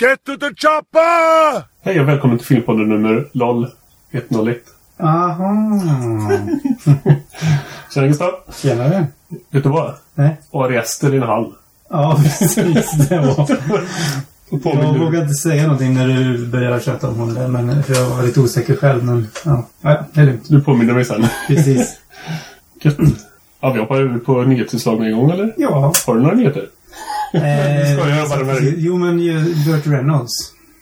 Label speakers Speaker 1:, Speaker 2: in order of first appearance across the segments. Speaker 1: Get to the chopper!
Speaker 2: Hej och välkommen till filmpodden nummer LOL 101.
Speaker 3: Aha.
Speaker 2: Tjena Gustav!
Speaker 3: Tjenare.
Speaker 2: Vet du vad?
Speaker 3: Nej.
Speaker 2: Ari Aster i en hall.
Speaker 3: Ja, precis. Det var.
Speaker 2: Och
Speaker 3: Jag
Speaker 2: påminner-
Speaker 3: vågade inte säga någonting när du började tjata om hon där, men för jag var lite osäker själv. Men ja, ja det är lugnt.
Speaker 2: Du påminner mig sen.
Speaker 3: Precis.
Speaker 2: Gött. Ja, vi hoppar över på nyhetsinslag med en gång eller?
Speaker 3: Ja.
Speaker 2: Har du några nyheter?
Speaker 3: Eh,
Speaker 2: Skojar jag bara med dig.
Speaker 3: Jo, men ju Burt Reynolds.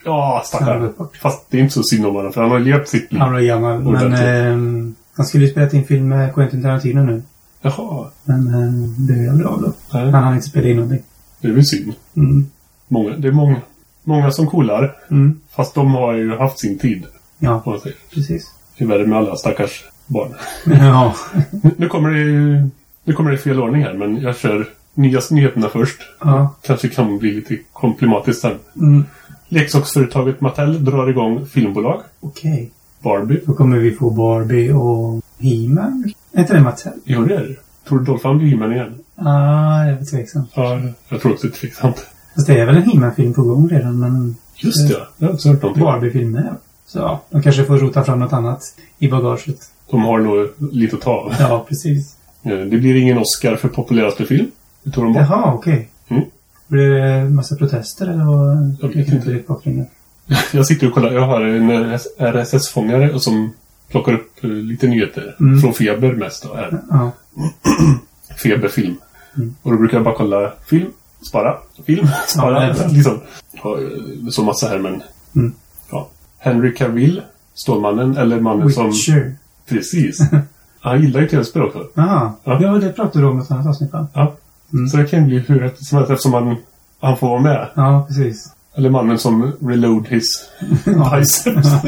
Speaker 2: Ja, stackarn.
Speaker 3: Snabbare.
Speaker 2: Fast det är inte så synd om honom för han har levt sitt liv.
Speaker 3: Han var gammal. Men
Speaker 2: Ordentligt.
Speaker 3: eh, han skulle ju spela in film med Quentin Tarantino nu.
Speaker 2: Jaha.
Speaker 3: Men eh, det blev aldrig av då.
Speaker 2: Nej,
Speaker 3: Han hann inte spela in någonting.
Speaker 2: det är väl synd.
Speaker 3: Mm.
Speaker 2: Många, det är många, många som coolar.
Speaker 3: Mm.
Speaker 2: Fast de har ju haft sin tid. Om
Speaker 3: Ja,
Speaker 2: man säger.
Speaker 3: precis.
Speaker 2: Det är värre med alla stackars barn.
Speaker 3: Ja.
Speaker 2: Nu kommer det, nu kommer det i fel ordning här, men jag kör nya nyheterna först.
Speaker 3: ja.
Speaker 2: Kanske kan bli lite komplimatiskt sen.
Speaker 3: Mm.
Speaker 2: Leksaksföretaget Mattel drar igång filmbolag.
Speaker 3: Okej.
Speaker 2: Barbie.
Speaker 3: Då kommer vi få Barbie och He-Man. Är inte det Mattel?
Speaker 2: Jo, det är det. Tror du Dolphin blir He-Man igen?
Speaker 3: Ah, jag är tveksam.
Speaker 2: Ja, jag tror också det är tveksamt.
Speaker 3: Fast det är väl en He-Man-film på gång redan, men
Speaker 2: Just det, jag har också hört någonting.
Speaker 3: Barbie-film med. Så ja, de kanske får rota fram något annat i bagaget.
Speaker 2: De har nog lite att ta av.
Speaker 3: Ja, precis.
Speaker 2: Eh, Det blir ingen Oscar för populäraste film. Det tog de bort.
Speaker 3: Jaha, okej.
Speaker 2: Mm.
Speaker 3: Blir det en massa protester eller vad?
Speaker 2: Jag vet
Speaker 3: Jag kan
Speaker 2: inte.
Speaker 3: inte riktigt bakgrunden.
Speaker 2: Jag sitter och kollar. Jag har en RSS-fångare och som plockar upp eh, lite nyheter.
Speaker 3: Mm.
Speaker 2: Från Feber mest. Då, här.
Speaker 3: Ja.
Speaker 2: feberfilm.
Speaker 3: Mm.
Speaker 2: Och då brukar jag bara kolla film, spara, film, spara.
Speaker 3: det är bra.
Speaker 2: liksom. ja, eh, så massa här men...
Speaker 3: Mm.
Speaker 2: Ja. Henry Cavill, Stålmannen, eller mannen som...
Speaker 3: Witcher.
Speaker 2: Precis. Han gillar ju tv-spel också.
Speaker 3: Jaha.
Speaker 2: Ja.
Speaker 3: Ja. det pratade du om i ett annat avsnitt va?
Speaker 2: Ja.
Speaker 3: Mm.
Speaker 2: Så det kan ju bli hur rätt som helst eftersom han, han får vara med.
Speaker 3: Ja, precis.
Speaker 2: Eller mannen som reload his
Speaker 3: Ja.
Speaker 2: biceps.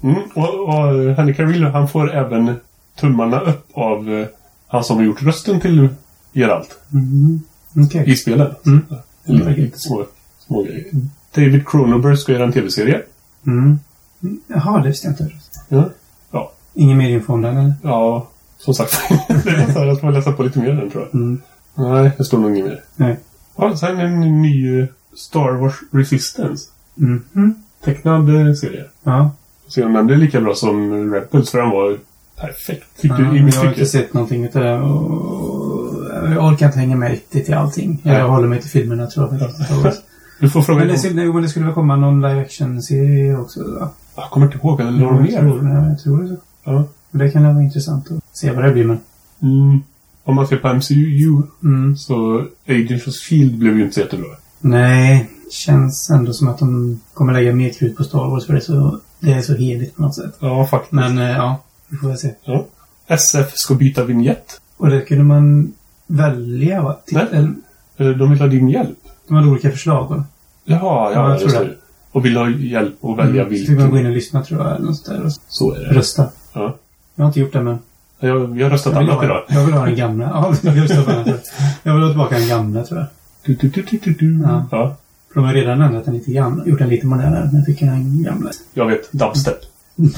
Speaker 2: mm. och, och Henry Cavill, han får även tummarna upp av eh, han som har gjort rösten till Geralt.
Speaker 3: Mhm. Okej.
Speaker 2: i spelen.
Speaker 3: Mm.
Speaker 2: Lite, lite små, små grejer. David Cronenberg ska göra en tv-serie.
Speaker 3: Mm. Mm. Jaha, det visste jag inte.
Speaker 2: Ja. Ja.
Speaker 3: Ingen mer info om den eller?
Speaker 2: ja, som sagt. det är så här att man läsa på lite mer än tror jag.
Speaker 3: Mm.
Speaker 2: Nej, det står nog inget mer.
Speaker 3: Nej.
Speaker 2: Ja, sen en ny eh, Star Wars Resistance.
Speaker 3: Mm.
Speaker 2: Tecknad eh, serie.
Speaker 3: Ja.
Speaker 2: Se om den blir lika bra som Rebels för den var perfekt
Speaker 3: Ja,
Speaker 2: tyckte, i
Speaker 3: men
Speaker 2: mitt
Speaker 3: jag har inte
Speaker 2: tycke.
Speaker 3: sett någonting utav det. Och jag orkar inte hänga med riktigt i allting.
Speaker 2: Nej.
Speaker 3: Jag håller mig till filmerna tror jag. faktiskt.
Speaker 2: Du får fråga
Speaker 3: men, det
Speaker 2: dem.
Speaker 3: skulle, jo, men det skulle väl komma någon live action-serie också? Va?
Speaker 2: Jag kommer inte ihåg. Eller någon
Speaker 3: jag, tror,
Speaker 2: mer?
Speaker 3: nej, jag tror det.
Speaker 2: Ja.
Speaker 3: Och Det kan vara intressant att se vad det blir. Men,
Speaker 2: Mm. Om man ser på MCU
Speaker 3: mm.
Speaker 2: så Agents of Shield E blev ju inte så jättebra.
Speaker 3: Nej, känns ändå som att de kommer lägga mer krut på Star Wars för det är så, det är så heligt på något sätt.
Speaker 2: Ja, faktiskt.
Speaker 3: Men eh, ja, vi får väl se.
Speaker 2: Ja. SF ska byta vignett.
Speaker 3: Och det kunde man välja va? Titt-
Speaker 2: Nej.
Speaker 3: eller-
Speaker 2: Eller de vill ha din hjälp.
Speaker 3: De hade olika förslag va?
Speaker 2: Jaha, ja,
Speaker 3: Ja, jag
Speaker 2: just
Speaker 3: tror
Speaker 2: det. Mm. Och vill ha hjälp att välja
Speaker 3: Så fick
Speaker 2: vilken.
Speaker 3: man gå in och lyssna tror jag. Eller något sånt där, och
Speaker 2: Så är det.
Speaker 3: rösta.
Speaker 2: Ja.
Speaker 3: Jag har inte gjort det men.
Speaker 2: Jag, vi har röstat
Speaker 3: Jag vill,
Speaker 2: annat
Speaker 3: ha,
Speaker 2: idag.
Speaker 3: jag vill ha den gamla. Ja, jag vill rösta på den. Jag vill ha tillbaka den gamla tror jag.
Speaker 2: Du, du, du, du, du, du.
Speaker 3: Ja.
Speaker 2: Ja,
Speaker 3: För de har redan ändrat den lite grann. Gjort den lite modernare. Nu fick jag den gamla.
Speaker 2: jag vet. Dubstep.
Speaker 3: Ja,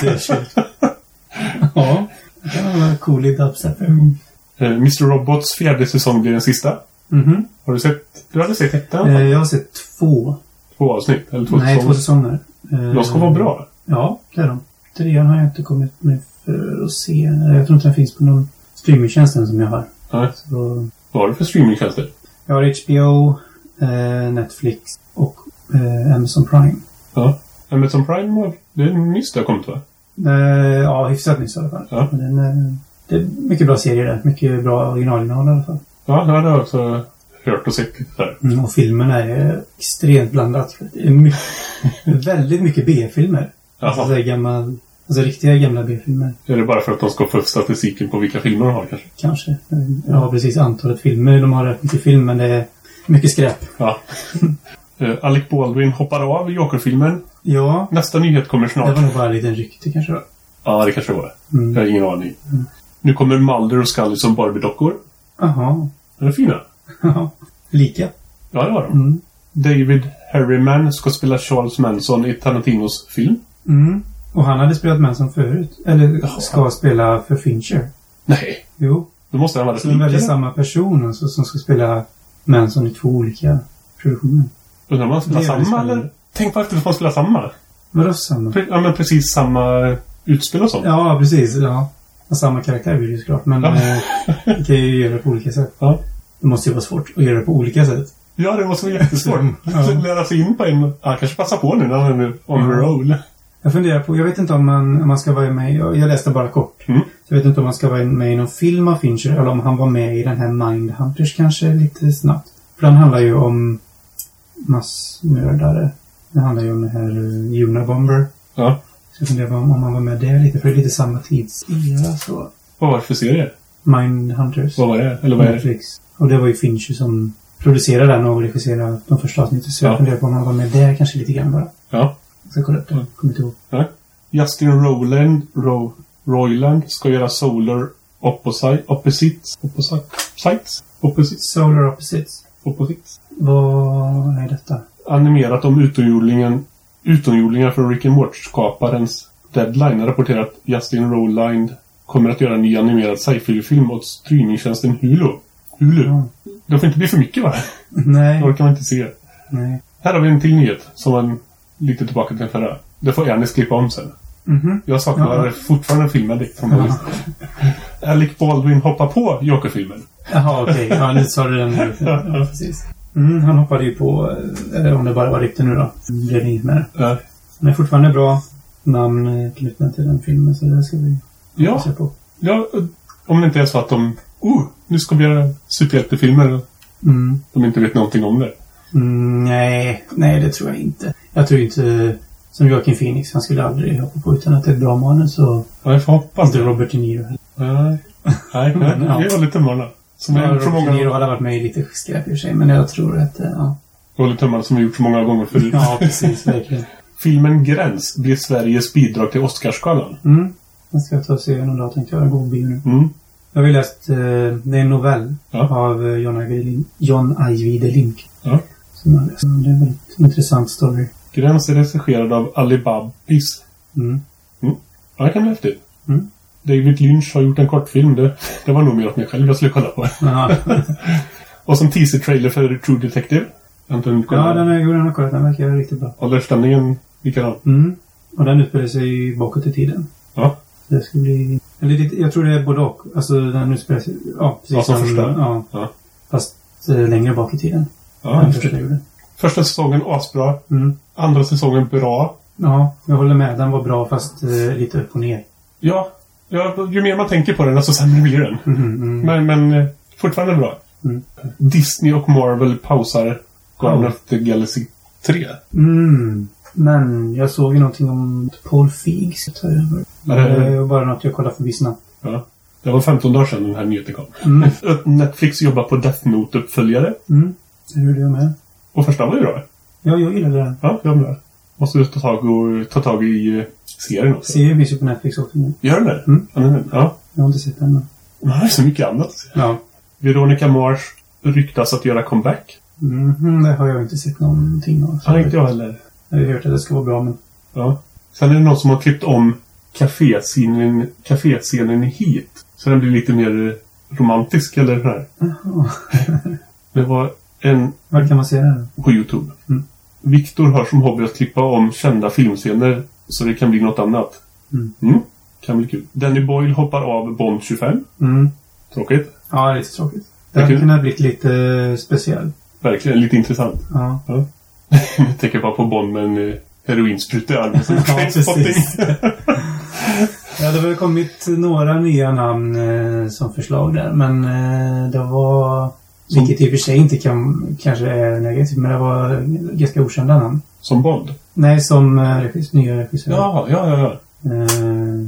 Speaker 3: det är kört. Ja. Det kan vara cool i dubstep. Mhm.
Speaker 2: Eh, Mr Robots fjärde säsong blir den sista. Har du sett? Du hade sett ettan?
Speaker 3: Mhm. Eh, Jag har sett två.
Speaker 2: Två avsnitt? Eller två
Speaker 3: Nej, två
Speaker 2: säsonger?
Speaker 3: säsonger. Eh,
Speaker 2: De ska vara bra.
Speaker 3: Ja, det är de. Trean har jag inte kommit med för att se. Eh, Jag tror inte den finns på någon streamingtjänst än som jag har.
Speaker 2: Ja.
Speaker 3: Så då-
Speaker 2: Vad har du för streamingtjänster?
Speaker 3: Jag har HBO, eh, Netflix och eh, Amazon Prime.
Speaker 2: Ja. Amazon Prime, har- det är nyss det har kommit va?
Speaker 3: Eh, ja, hyfsat nyss i alla fall.
Speaker 2: Ja.
Speaker 3: Men den, eh, det är mycket bra serier där. Mycket bra originalinnehåll i alla fall.
Speaker 2: Ja, det har jag också hört och sett lite där.
Speaker 3: Mm, och filmerna är extremt blandat. Det är mycket, väldigt mycket B-filmer. Alltså, så
Speaker 2: Jaha.
Speaker 3: här gammal, alltså riktiga gamla B-filmer.
Speaker 2: Är det bara för att de ska få upp statistiken på vilka filmer de har kanske?
Speaker 3: Kanske. Jag har precis antalet filmer. De har rätt mycket film, men det är mycket skräp.
Speaker 2: Ja. Eh, Alec Baldwin hoppar av i Joker-filmen.
Speaker 3: Ja,
Speaker 2: Nästa nyhet kommer
Speaker 3: det var
Speaker 2: snart.
Speaker 3: nog bara en liten rykte kanske. då.
Speaker 2: Ja, det kanske det var. Jag
Speaker 3: Mm.
Speaker 2: har ingen aning. Nu kommer Mulder och Scully som Barbie-dockor.
Speaker 3: Jaha.
Speaker 2: De är fina.
Speaker 3: Lika.
Speaker 2: Ja, det var de.
Speaker 3: Mm.
Speaker 2: David Harriman ska spela Charles Manson i Tarantinos film.
Speaker 3: Mm. Och han hade spelat med som förut. Eller ska spela för Fincher.
Speaker 2: Nej,
Speaker 3: Jo.
Speaker 2: då måste han vara
Speaker 3: Så det är väl
Speaker 2: lik, eller?
Speaker 3: samma person alltså, som ska spela Manson i två olika produktioner.
Speaker 2: Undrar om man skulle ha
Speaker 3: Det är
Speaker 2: samma
Speaker 3: spännande.
Speaker 2: eller? Tänk på efter om man skulle ha samma.
Speaker 3: Vadå samma?
Speaker 2: Pre- Ja, men precis samma utspel och sånt.
Speaker 3: Ja, precis. Ja. Och samma karaktär blir det ju såklart. Men
Speaker 2: Ja.
Speaker 3: eh, vi kan ju göra det på olika sätt.
Speaker 2: Ja.
Speaker 3: Det måste ju vara svårt att göra det på olika sätt.
Speaker 2: Ja, det måste vara jättesvårt.
Speaker 3: Mm. Ja.
Speaker 2: Lära sig in på en. Ja, kanske passa på nu när han är on the
Speaker 3: Mm.
Speaker 2: roll.
Speaker 3: Jag funderar på, jag vet inte om man, om man ska vara med, jag, jag läste bara kort.
Speaker 2: Mm.
Speaker 3: Så jag vet inte om man ska vara med i någon film av Fincher eller om han var med i den här Mindhunters kanske lite snabbt. För den handlar ju om massmördare. Den handlar ju om den här uh, Unabomber.
Speaker 2: Ja.
Speaker 3: Så jag funderar på om, om han var med där lite, för det är lite samma tidsera så.
Speaker 2: Vad var det för serie?
Speaker 3: Mindhunters.
Speaker 2: Vad var det? Eller vad är det?
Speaker 3: Netflix. Och det var ju Fincher som producerade den och regisserade de första avsnitten. Så
Speaker 2: Ja.
Speaker 3: jag funderar på om han var med där kanske lite grann bara.
Speaker 2: Ja.
Speaker 3: Jag ska kolla upp det.
Speaker 2: Mm.
Speaker 3: Kommer inte ihåg.
Speaker 2: Justin Rowland, Ro, Roiland ska göra Solar Opposite, Opposites. Opposite, sites? Opposites?
Speaker 3: Solar Opposites.
Speaker 2: Opposites.
Speaker 3: Vad är detta?
Speaker 2: Animerat om utomjordingen, utomjordingar från Rick and Morty-skaparens Deadline rapporterar att Justin Rowland kommer att göra en ny animerad sci-fi-film åt streamingtjänsten Hulu. Hulu.
Speaker 3: Ja.
Speaker 2: Det får inte bli för mycket va? Det
Speaker 3: Nej.
Speaker 2: orkar man inte se.
Speaker 3: Nej.
Speaker 2: Här har vi en till nyhet som man lite tillbaka till den förra. Det får Anis klippa om sen.
Speaker 3: Mhm.
Speaker 2: Jag saknar
Speaker 3: Ja.
Speaker 2: fortfarande filmen Dick från
Speaker 3: Ja.
Speaker 2: ja. Alec Baldwin hoppar på Joker-filmen.
Speaker 3: Jaha, okej. Ja, nu sa du den nu. Ja, precis. Mm, han hoppade ju på, eh, eller om det bara var rykte nu då. Det blev inget mer.
Speaker 2: Eh,
Speaker 3: Den är fortfarande bra. Namn eh, knutna till den filmen, så det ska vi
Speaker 2: ja,
Speaker 3: se på.
Speaker 2: ja, eh, om det inte är så att de... Oh, nu ska vi göra superhjältefilmer.
Speaker 3: Mm.
Speaker 2: De inte vet någonting om det.
Speaker 3: Mm, nej, nej det tror jag inte. Jag tror inte som Joaquin Phoenix, han skulle aldrig hoppa på utan att det är ett bra manus och
Speaker 2: Ja, jag får hoppas
Speaker 3: inte
Speaker 2: det.
Speaker 3: Robert De Niro heller.
Speaker 2: Nej, nej, nej.
Speaker 3: Men, ja.
Speaker 2: Vi håller tummarna. Som jag har gjort så
Speaker 3: Robert De Niro
Speaker 2: många,
Speaker 3: hade varit med i lite skräp i och för sig, men jag tror att, eh, ja.
Speaker 2: jag håller tummarna som jag gjort så många gånger förut.
Speaker 3: Ja, precis, verkligen.
Speaker 2: Filmen Gräns blir Sveriges bidrag till Oscarsgalan.
Speaker 3: Mm. Den ska jag ta och se någon dag tänkte jag. Gå på bio nu.
Speaker 2: Mm.
Speaker 3: Jag har ju läst, eh, det är en novell
Speaker 2: Ja.
Speaker 3: av eh, John Ajvide Link. John Ajvide Link.
Speaker 2: Ja.
Speaker 3: Som jag har läst. Mm, Det är en väldigt intressant story.
Speaker 2: Gräns är regisserad av Ali Babis
Speaker 3: Mm.
Speaker 2: Ja, det kan bli häftigt.
Speaker 3: Mm.
Speaker 2: David Lynch har gjort en kortfilm. Det, det var nog mer åt mig själv jag skulle kolla på.
Speaker 3: Ja,
Speaker 2: Och som teaser-trailer för True Detective. Jag har inte hunnit kolla.
Speaker 3: ja den har jag den har kollat. Den verkar riktigt bra.
Speaker 2: Åldersstämningen likadan.
Speaker 3: Mm. Och den utspelar sig bakåt i tiden.
Speaker 2: Ja.
Speaker 3: Så det ska bli... Eller det, jag tror det är både och. Alltså den utspelar sig... Ja, precis.
Speaker 2: Ja, som
Speaker 3: den-
Speaker 2: första.
Speaker 3: Ja.
Speaker 2: Ja.
Speaker 3: Fast eh, längre bak i tiden.
Speaker 2: Ja,
Speaker 3: den
Speaker 2: just
Speaker 3: första
Speaker 2: det.
Speaker 3: jag gjorde.
Speaker 2: Första säsongen asbra.
Speaker 3: Mm.
Speaker 2: Andra säsongen bra.
Speaker 3: Ja, jag håller med. Den var bra fast eh, lite upp och ner.
Speaker 2: Ja, ja, ju mer man tänker på den, desto sämre blir den.
Speaker 3: Mhm, mm.
Speaker 2: Men, men eh, fortfarande bra.
Speaker 3: Mm.
Speaker 2: Disney och Marvel pausar Guardian
Speaker 3: Ja.
Speaker 2: of the Galaxy 3.
Speaker 3: Mm. Men jag såg ju någonting om Paul Figs.
Speaker 2: Är det-
Speaker 3: Det var bara något jag kollade förbi snabbt.
Speaker 2: Ja. Det var 15 dagar sedan den här nyheten kom.
Speaker 3: Mm.
Speaker 2: Att Netflix jobbar på Death Note-uppföljare.
Speaker 3: Mm. Det gjorde jag med.
Speaker 2: Och första var ju bra.
Speaker 3: Ja, jag gillade den.
Speaker 2: Ja, jag med. Måste du ta tag, och, ta tag i eh, serien också?
Speaker 3: Serien finns ju på Netflix också nu.
Speaker 2: Gör den det?
Speaker 3: Mm.
Speaker 2: Ja, den är det. Ja.
Speaker 3: Jag har inte sett den. men-
Speaker 2: Man har ju så mycket annat. att se.
Speaker 3: Ja.
Speaker 2: Veronica Mars ryktas att göra comeback.
Speaker 3: Mhm, det har jag inte sett någonting av.
Speaker 2: Ja, inte jag heller.
Speaker 3: Jag har ju hört att det ska vara bra, men...
Speaker 2: Ja. Sen är det någon som har klippt om kaféscenen, kaféscenen hit. Så den blir lite mer eh, romantisk eller sådär.
Speaker 3: Jaha.
Speaker 2: Det var en
Speaker 3: Var kan man se det här?
Speaker 2: på Youtube.
Speaker 3: Mm.
Speaker 2: Viktor har som hobby att klippa om kända filmscener så det kan bli något annat.
Speaker 3: Mm.
Speaker 2: Kan bli kul. Danny Boyle hoppar av Bond 25.
Speaker 3: Mm.
Speaker 2: Tråkigt.
Speaker 3: Ja, det är lite tråkigt.
Speaker 2: Det
Speaker 3: Det hade
Speaker 2: kan-
Speaker 3: kunnat blivit lite eh, speciell.
Speaker 2: Verkligen lite intressant.
Speaker 3: Ja.
Speaker 2: Jag tänker bara på Bond med en eh, heroinspruta i armen som
Speaker 3: Ja,
Speaker 2: Trainspotting.
Speaker 3: precis. Det hade väl kommit några nya namn eh, som förslag där, men eh, det var...
Speaker 2: Som-
Speaker 3: Vilket i och för sig inte kan, kanske är negativt, men det var ganska okända namn.
Speaker 2: Som Bond?
Speaker 3: Nej, som eh, regis, nya regissörer.
Speaker 2: Ja, ja, ja. ja.
Speaker 3: Eh,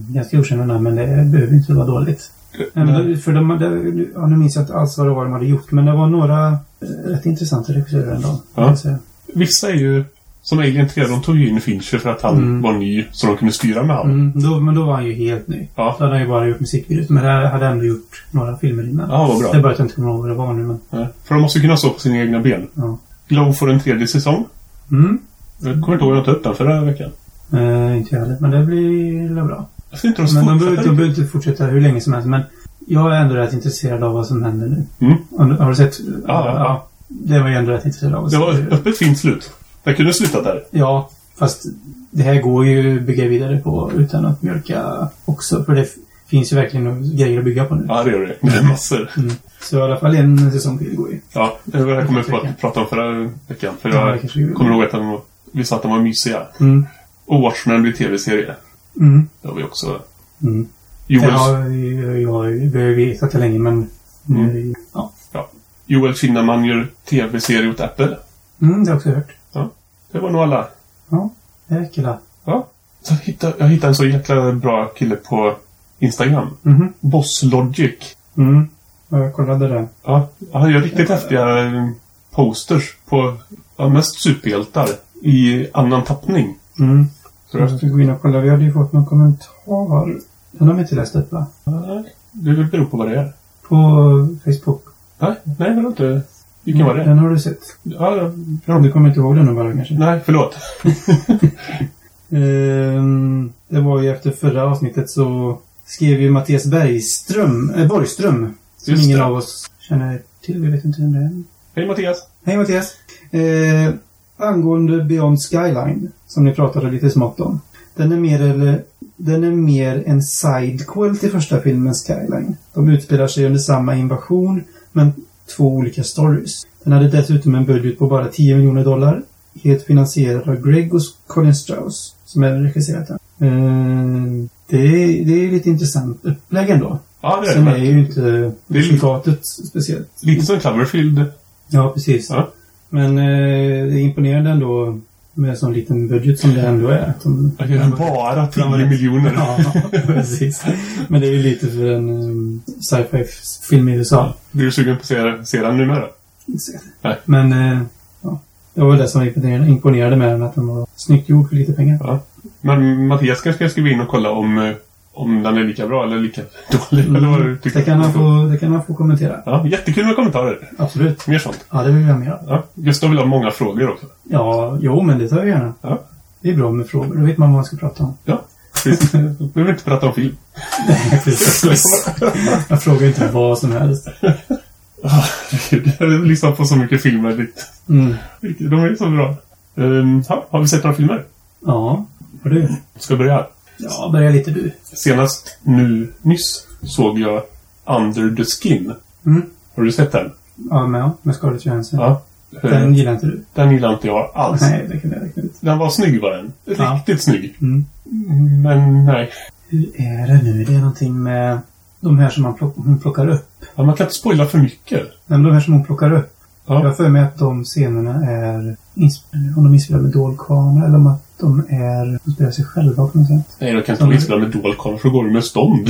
Speaker 3: ganska okända namn, men det behöver inte vara dåligt. Nej, men det- för de, det- ja, nu minns jag inte alls vad det var de hade gjort, men det var några eh, rätt intressanta regissörer ändå. kan
Speaker 2: Ja.
Speaker 3: jag säga.
Speaker 2: Vissa är ju... Som Alien 3, de tog ju in Fincher för att han
Speaker 3: Mm.
Speaker 2: var ny så de kunde styra med han.
Speaker 3: Mm, då, men då var han ju helt ny.
Speaker 2: Ja.
Speaker 3: Då hade han ju bara gjort musikvideos, men han hade ändå gjort några filmer innan.
Speaker 2: Ja, vad
Speaker 3: Det är
Speaker 2: bra.
Speaker 3: bara att jag inte kommer ihåg vad det var nu, men...
Speaker 2: Ja. eh, För de måste ju kunna stå på sina egna ben.
Speaker 3: Ja.
Speaker 2: Glow får en tredje säsong.
Speaker 3: Mm,
Speaker 2: Jag kommer inte ihåg att jag tog upp den förra veckan.
Speaker 3: eh, inte jag heller, men det blir väl bra.
Speaker 2: Jag ser inte de
Speaker 3: Men de
Speaker 2: fortsätter
Speaker 3: behöver de
Speaker 2: riktigt.
Speaker 3: behöver inte fortsätta hur länge som helst, men jag är ändå rätt intresserad av vad som händer nu.
Speaker 2: Mm.
Speaker 3: Har, du- har du sett?
Speaker 2: ja.
Speaker 3: Det var jag ändå rätt intresserad av.
Speaker 2: Det var öppet fint slut. Jag kunde sluta där.
Speaker 3: Ja, fast det här går ju att bygga vidare på utan att mjölka också. För det f- finns ju verkligen grejer att bygga på nu.
Speaker 2: Ja, det gör det. Det är massor.
Speaker 3: Mm. Så i alla fall en säsong till går ju.
Speaker 2: Ja, det var det jag kommer på att prata om förra veckan. För
Speaker 3: Ja, det
Speaker 2: jag
Speaker 3: kanske vi gör.
Speaker 2: kommer ihåg att de, vi sa att de var mysiga.
Speaker 3: Mm.
Speaker 2: Och Watchmen blir tv-serie.
Speaker 3: Mm.
Speaker 2: Det har vi också.
Speaker 3: Mm.
Speaker 2: Joel,
Speaker 3: Ja, jag, jag, vi har ju vetat det länge men... nu- Ja.
Speaker 2: Joel Kinnaman gör tv-serie åt Apple.
Speaker 3: Mm, det har jag också hört.
Speaker 2: Det var nog alla.
Speaker 3: Ja, det räcker da.
Speaker 2: Ja. Så jag hittade, jag hittade en så jäkla bra kille på Instagram.
Speaker 3: Mhm.
Speaker 2: Boss Logic.
Speaker 3: Mm. Ja, Jag kollade det.
Speaker 2: Ja, han gör riktigt häftiga eh, posters på ja, mest superhjältar i annan tappning.
Speaker 3: Mm.
Speaker 2: Så
Speaker 3: Jag
Speaker 2: jag,
Speaker 3: måste gå in och kolla. Vi hade ju fått någon kommentar. Den har vi inte läst upp va?
Speaker 2: nej, det beror på vad det är.
Speaker 3: På Facebook.
Speaker 2: Nej, nej det var inte... Vilken var det?
Speaker 3: Den har du sett.
Speaker 2: Ja, ja.
Speaker 3: Ja, du kommer inte ihåg den nu bara kanske?
Speaker 2: nej, förlåt.
Speaker 3: Ehm, det var ju efter förra avsnittet så skrev ju Mattias Bergström, äh, Borgström. Som
Speaker 2: Just
Speaker 3: ingen
Speaker 2: det.
Speaker 3: av oss känner till. Vi vet inte vem det är.
Speaker 2: Hej Mattias.
Speaker 3: Hej Mattias! Eh, angående Beyond Skyline, som ni pratade lite smått om. Den är mer, eller, den är mer en sidequel till första filmen Skyline. De utspelar sig under samma invasion, men två olika stories. Den hade dessutom en budget på bara 10 miljoner dollar. Helt finansierad av Greg och Colin Strauss, som även regisserat den. Eh, det, är- det är lite intressant upplägg ändå.
Speaker 2: Ja, det är,
Speaker 3: Sen
Speaker 2: det.
Speaker 3: är ju inte
Speaker 2: Det är-
Speaker 3: resultatet speciellt.
Speaker 2: Lite som Cloverfield.
Speaker 3: Ja, precis.
Speaker 2: Ja.
Speaker 3: Men eh, det är imponerande ändå med en sån liten budget som det ändå är. Att de-
Speaker 2: Jag gör bara 10
Speaker 3: var-
Speaker 2: miljoner.
Speaker 3: ja, precis. Men det är ju lite för en um, sci-fi film i USA.
Speaker 2: Blir du sugen på att se, se den nu med då? Nej.
Speaker 3: Men eh, ja, det var väl det som imponerade, imponerade med den, att den var snyggt gjord för lite pengar.
Speaker 2: Ja. Men Mattias kanske ska skriva in och kolla om, eh, om den är lika bra eller lika dålig. Eller vad du tycker.
Speaker 3: Mm. det, kan han få, det kan han få kommentera.
Speaker 2: Ja, jättekul med kommentarer.
Speaker 3: Absolut.
Speaker 2: Mer sånt.
Speaker 3: Ja, det vill jag med.
Speaker 2: Ja. Gustav vill ha många frågor också.
Speaker 3: Ja, jo, men det tar jag gärna.
Speaker 2: Ja.
Speaker 3: Det är bra med frågor. Då vet man vad man ska prata om.
Speaker 2: Ja, precis. Vi behöver inte prata om film.
Speaker 3: Precis. jag frågar inte vad som helst.
Speaker 2: Herregud, Jag har lyssnat på så mycket filmer. Det-
Speaker 3: Mm.
Speaker 2: De är ju så bra. Ehm, ja, har vi sett några filmer?
Speaker 3: Ja, och du?
Speaker 2: Ska jag börja?
Speaker 3: Ja, börja lite du.
Speaker 2: Senast nu nyss såg jag Under the Skin.
Speaker 3: Mm.
Speaker 2: Har du sett den?
Speaker 3: Ja, med, med Scarlett Johansson.
Speaker 2: Ja. Den,
Speaker 3: Den gillar inte du?
Speaker 2: den gillar inte jag alls.
Speaker 3: Nej, det kan jag räkna ut.
Speaker 2: Den var snygg var den.
Speaker 3: Ja.
Speaker 2: Riktigt snygg.
Speaker 3: Mm.
Speaker 2: Men nej.
Speaker 3: Hur är det nu? Det är någonting med de här som man plock, hon plockar upp.
Speaker 2: Ja, man kan inte spoila för mycket.
Speaker 3: Nej, men de här som hon plockar upp.
Speaker 2: Ja.
Speaker 3: Jag har för mig att de scenerna är insp- om de inspelade med dold kamera eller om att de är de spelar sig själva på något sätt.
Speaker 2: Nej, då kan inte vara inspelad med dold kamera för då går det med stånd.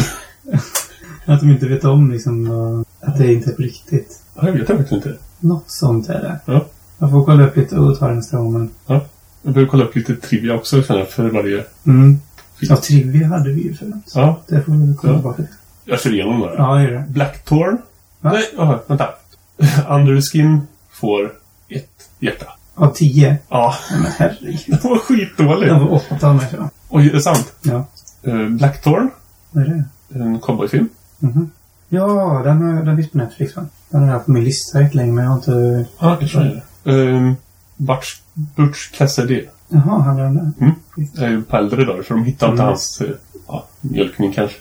Speaker 3: Att de inte vet om liksom vad- att det inte är på riktigt.
Speaker 2: Ja, jag vet faktiskt inte.
Speaker 3: Något sånt är det.
Speaker 2: Ja.
Speaker 3: Jag får kolla upp lite och ta den nästa gång. men-
Speaker 2: Jag behöver kolla upp lite trivia också känner jag, för varje...
Speaker 3: Mm. Ja, trivia hade vi ju förut.
Speaker 2: Ja,
Speaker 3: Det får vi kolla
Speaker 2: Ja.
Speaker 3: tillbaka till.
Speaker 2: jag kör igenom några.
Speaker 3: Ja, det är det.
Speaker 2: Blackthorn.
Speaker 3: Va?
Speaker 2: Nej, aha, vänta. Under the Skin får ett hjärta.
Speaker 3: Av tio.
Speaker 2: Ja,
Speaker 3: Men herregud.
Speaker 2: det var skitdåligt.
Speaker 3: Den var åtta av mig tror jag.
Speaker 2: Oj, är det sant?
Speaker 3: Ja,
Speaker 2: Eh, Blackthorn.
Speaker 3: vad är det?
Speaker 2: En cowboyfilm.
Speaker 3: Mhm. Ja, den, har- den finns på Netflix va? Den har jag haft på min lista jättelänge men jag har inte...
Speaker 2: Ja, det tror jag. Eh, Butch, Butch Cassidy.
Speaker 3: Jaha, handlar den där?
Speaker 2: Jag är ju på äldre dagar så de hittar inte
Speaker 3: Mm.
Speaker 2: hans eh, ja, mjölkning kanske.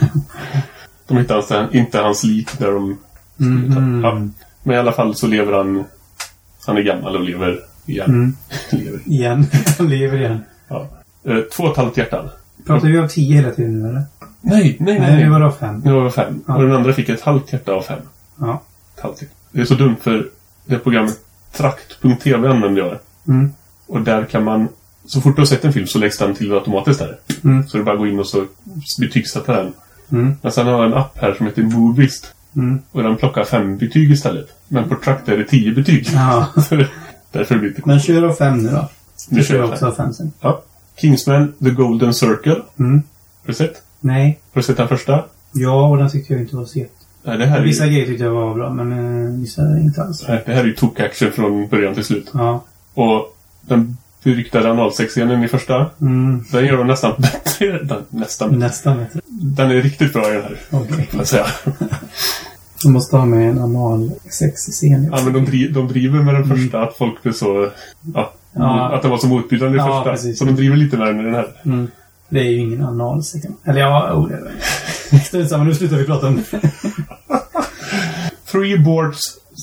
Speaker 2: de hittar alltså inte hans lik där de skulle ta.
Speaker 3: Mhm.
Speaker 2: Ja. Men i alla fall så lever han... Han är gammal och lever igen.
Speaker 3: Mm.
Speaker 2: lever.
Speaker 3: Igen. Han lever igen.
Speaker 2: Ja. Eh, två och ett halvt hjärtan.
Speaker 3: Pratar vi av tio hela tiden nu eller?
Speaker 2: Nej, nej,
Speaker 3: Nej, vi var av fem.
Speaker 2: Nu var vi fem.
Speaker 3: Ja.
Speaker 2: Och den andra fick ett halvt hjärta av fem.
Speaker 3: Ja.
Speaker 2: Ett halvt hjärta. Det är så dumt för det programmet Trakt.tv använder jag.
Speaker 3: Mm.
Speaker 2: Och där kan man... Så fort du har sett en film så läggs den till automatiskt där.
Speaker 3: Mm.
Speaker 2: Så det är bara att gå in och så betygsätta den.
Speaker 3: Mm.
Speaker 2: Men sen har jag en app här som heter Moviest.
Speaker 3: Mm.
Speaker 2: Och den plockar fem betyg istället. Men på Trakt är det tio betyg.
Speaker 3: Ja.
Speaker 2: Därför blir det lite
Speaker 3: Men kör av fem nu då.
Speaker 2: Nu
Speaker 3: Du
Speaker 2: kör
Speaker 3: kör
Speaker 2: jag
Speaker 3: också av fem sen.
Speaker 2: Ja. Kingsman, The Golden Circle. Har
Speaker 3: Mm.
Speaker 2: du sett?
Speaker 3: Nej.
Speaker 2: Har du sett den första?
Speaker 3: Ja, och den tyckte jag inte var så jätte...
Speaker 2: Nej, det här är ju,
Speaker 3: Vissa grejer tyckte jag var bra men eh, vissa inte alls.
Speaker 2: nej, det här är ju tok-action från början till slut.
Speaker 3: Ja.
Speaker 2: Och den beryktade analsexscenen i första.
Speaker 3: Mm.
Speaker 2: Den gör de nästan bättre. Den, nästan.
Speaker 3: Nästan bättre.
Speaker 2: Den är riktigt bra i den här.
Speaker 3: Okej.
Speaker 2: Får jag säga.
Speaker 3: som måste ha med en analsexscen.
Speaker 2: Ja, men de, dri- de driver med den första att folk blir så... Ja,
Speaker 3: Mm. Ja.
Speaker 2: Att den var så motbjudande i
Speaker 3: Ja,
Speaker 2: första.
Speaker 3: precis.
Speaker 2: Så de driver lite med den i den här.
Speaker 3: Mm. Det är ju ingen analsex. Eller ja, oh, det är det. Strunt samma, nu slutar vi prata om det.
Speaker 2: Three boards...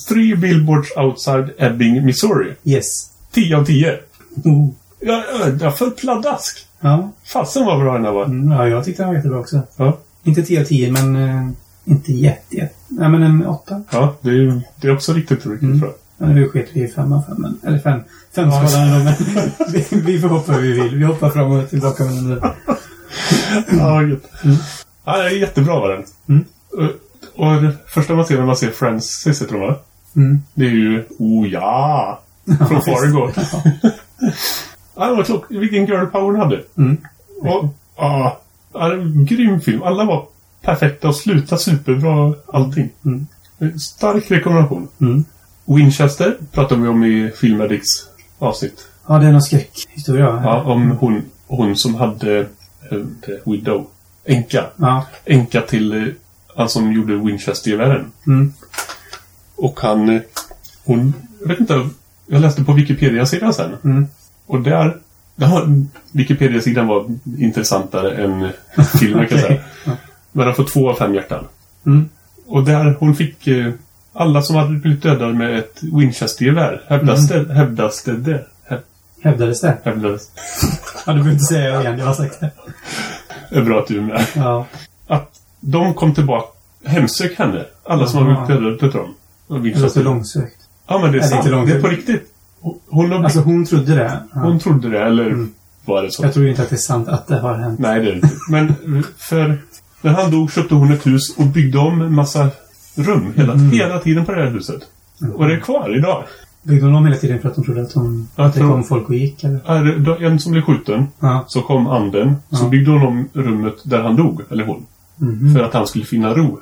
Speaker 2: Three billboards outside Ebbing, Missouri.
Speaker 3: Yes.
Speaker 2: 10 av 10.
Speaker 3: Oh.
Speaker 2: Jag, jag- jag föll pladask.
Speaker 3: Ja.
Speaker 2: Fasen vad bra den här var.
Speaker 3: Mm, ja, jag tyckte den var jättebra också.
Speaker 2: Ja.
Speaker 3: Inte 10 av 10, men eh, inte jätte, jätte. Nej, men en 8.
Speaker 2: Ja, det är, ju- det är också riktigt roligt
Speaker 3: Mm.
Speaker 2: tror jag.
Speaker 3: Ja, nu sket vi i 5 av 5. men- Eller 5. 5 skalan ändå, men vi, vi får hoppa hur vi vill. Vi hoppar fram och tillbaka med den där.
Speaker 2: Ja, gött.
Speaker 3: Mm.
Speaker 2: Ja, det är jättebra var den.
Speaker 3: Mm.
Speaker 2: Och, och det första man ser när man ser Francis, heter hon va?
Speaker 3: Mm.
Speaker 2: Det är ju Oh ja! Från Fargo. ja, det var klock. Vilken girl power hon hade.
Speaker 3: Mm.
Speaker 2: Och, ja, ja, det är en grym film. Alla var perfekta och slutade superbra allting.
Speaker 3: Mm.
Speaker 2: Stark rekommendation.
Speaker 3: Mm.
Speaker 2: Winchester pratar vi om i Filmaddicts avsnitt.
Speaker 3: Ja, det är någon skräckhistoria. va?
Speaker 2: Ja, om hon, hon som hade eh, det, Widow. Änka.
Speaker 3: ja.
Speaker 2: Änka till eh, han som gjorde Winchester-gevären.
Speaker 3: Mm.
Speaker 2: Och han... eh, Hon... Jag vet inte. Jag läste på Wikipedia-sidan sen.
Speaker 3: Mm.
Speaker 2: Och där... där har- Wikipedia-sidan var intressantare än eh, filmen kan jag säga.
Speaker 3: Okej. Ja.
Speaker 2: Men han får två av fem hjärtan.
Speaker 3: Mm.
Speaker 2: Och där hon fick... eh, Alla som hade blivit dödade med ett Winchester-gevär hävdas
Speaker 3: Mm.
Speaker 2: det. Hävdas det. det hä-
Speaker 3: Hävdades det?
Speaker 2: Hävdas.
Speaker 3: Ja, du behöver inte säga igen. Jag har sagt det.
Speaker 2: Det är bra att du är med.
Speaker 3: Ja.
Speaker 2: Att de kom tillbaka. Hemsök henne. Alla som
Speaker 3: Jaha.
Speaker 2: har blivit dödade utav dem. Och
Speaker 3: Det låter
Speaker 2: Winchester.
Speaker 3: långsökt.
Speaker 2: Ja, men det är
Speaker 3: Ja, det är
Speaker 2: sant.
Speaker 3: inte långt.
Speaker 2: Det är på riktigt. Hon- Hon, har,
Speaker 3: Alltså hon trodde det. Ja.
Speaker 2: hon trodde det, eller
Speaker 3: Mm.
Speaker 2: var det så?
Speaker 3: Jag tror ju inte att det är sant att det har hänt.
Speaker 2: Nej, det är det inte. Men eh, för när han dog köpte hon ett hus och byggde om en massa rum hela,
Speaker 3: Mm.
Speaker 2: hela tiden på det här huset. Och det är kvar idag.
Speaker 3: Byggde hon om hela tiden för att hon trodde att, hon,
Speaker 2: Jag
Speaker 3: att det
Speaker 2: tror-
Speaker 3: kom folk och gick eller?
Speaker 2: Är det- då- En som blev skjuten,
Speaker 3: Ja.
Speaker 2: så kom anden. Så
Speaker 3: Ja.
Speaker 2: byggde hon om rummet där han dog, eller hon.
Speaker 3: Mhm.
Speaker 2: För att han skulle finna ro.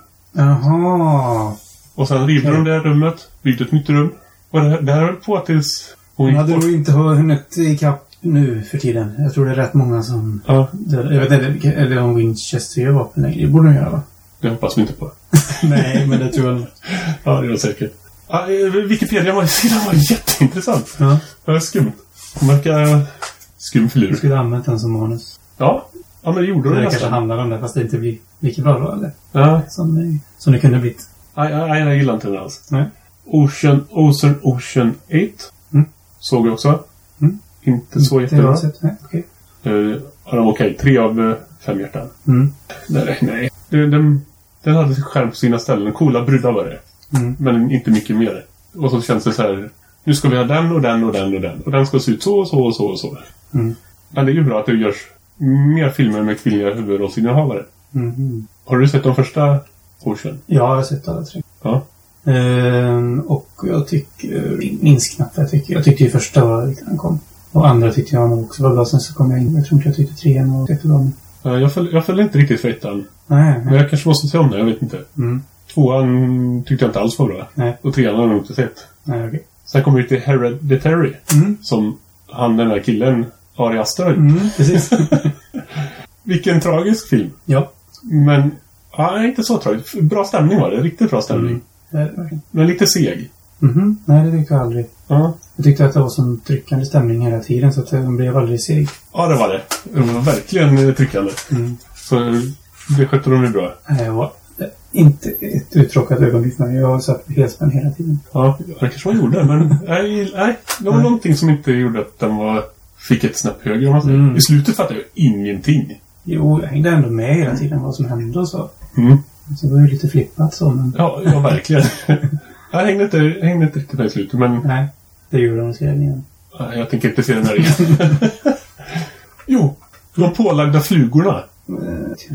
Speaker 3: Jaha.
Speaker 2: Och sen rivde de det här rummet, byggde ett nytt rum. Och det här, det här höll på tills hon
Speaker 3: Hon
Speaker 2: gick
Speaker 3: hade
Speaker 2: bort.
Speaker 3: nog inte hunnit ikapp nu för tiden. Jag tror det är rätt många som
Speaker 2: Ja,
Speaker 3: dödar. Jag vet inte, vilka- eller om Winchester gör vapen längre. Det borde de göra va?
Speaker 2: det hoppas vi inte på.
Speaker 3: Nej, men det tror jag
Speaker 2: Ja, det var säkert. Ja, eh, Wikipedia var, sidan var jätteintressant.
Speaker 3: Ja.
Speaker 2: Det var skumt. Hon verkar... Skum
Speaker 3: Jag
Speaker 2: filur.
Speaker 3: skulle ha använt den som manus.
Speaker 2: Ja. Ja, men det gjorde hon
Speaker 3: Det kanske
Speaker 2: nästan.
Speaker 3: handlar om det, fast det inte blir lika bra då eller?
Speaker 2: Ja.
Speaker 3: Som, det- som det kunde blivit.
Speaker 2: Nej, nej, nej, jag gillar inte den alls.
Speaker 3: Nej.
Speaker 2: Ocean, Ocean, Ocean 8.
Speaker 3: Mm.
Speaker 2: Såg jag också.
Speaker 3: Mm.
Speaker 2: Inte så
Speaker 3: Det har
Speaker 2: jättebra.
Speaker 3: jag sett. Nej, okej.
Speaker 2: Uh, ja, okej. Tre av eh, fem hjärtan.
Speaker 3: Mm.
Speaker 2: Nej, nej. Den, den, den hade sin skärm på sina ställen. Coola brudar var det.
Speaker 3: Mm.
Speaker 2: Men inte mycket mer. Och så känns det så här. Nu ska vi ha den och den och den och den. Och den ska se ut så och så och så och så.
Speaker 3: Mm.
Speaker 2: Men det är ju bra att det görs mer filmer med kvinnliga huvudrollsinnehavare.
Speaker 3: Mhm.
Speaker 2: Har du sett de första Ocean?
Speaker 3: Ja, jag har sett alla tre.
Speaker 2: Ja.
Speaker 3: Ehm, och jag tycker, minns knappt vad jag tycker. Jag tyckte ju första var lite han kom. Och andra tyckte jag nog också var bra. Sen så kom jag in. Jag tror inte jag tyckte trean var jättebra. men-
Speaker 2: Eh, Jag följde, jag följde inte riktigt för ettan.
Speaker 3: Nej,
Speaker 2: Men
Speaker 3: nej.
Speaker 2: jag kanske måste se om den, jag vet inte.
Speaker 3: Mm.
Speaker 2: Tvåan tyckte jag inte alls var bra.
Speaker 3: Nej.
Speaker 2: Och trean har jag nog inte sett.
Speaker 3: Nej, okej.
Speaker 2: Sen kommer vi till Hereditary.
Speaker 3: Mm.
Speaker 2: Som han, den där killen, Ari Aster har gjort.
Speaker 3: Mm, precis.
Speaker 2: Vilken tragisk film.
Speaker 3: ja.
Speaker 2: Men, ja, inte så tragiskt. Bra stämning var det. Riktigt bra stämning.
Speaker 3: Mm. Det är det verkligen.
Speaker 2: Men lite seg.
Speaker 3: Mhm. Nej, det tyckte jag aldrig.
Speaker 2: Ja.
Speaker 3: Jag tyckte att det var sån tryckande stämning hela tiden så att den blev aldrig seg.
Speaker 2: ja, det var det. Det var verkligen eh, tryckande.
Speaker 3: Mm.
Speaker 2: Så det skötte de ju bra.
Speaker 3: Nej, jag var eh, inte ett uttråkat ögonblick för mig. Jag satt helspänn hela tiden.
Speaker 2: Ja, det kanske man gjorde, men nej, nej, det var
Speaker 3: Nej.
Speaker 2: någonting som inte gjorde att den var, fick ett snäpp högre. Om man säger.
Speaker 3: Mm.
Speaker 2: I slutet fattade jag ingenting.
Speaker 3: Jo, jag hängde ändå med hela tiden vad som hände och så.
Speaker 2: Mm.
Speaker 3: Så det var ju lite flippat så, men...
Speaker 2: Ja, ja verkligen. jag hängde inte, hängde inte riktigt med i slutet, men
Speaker 3: Nej, det gjorde de i serien.
Speaker 2: nej, jag tänker inte se den här igen. jo, de pålagda flugorna.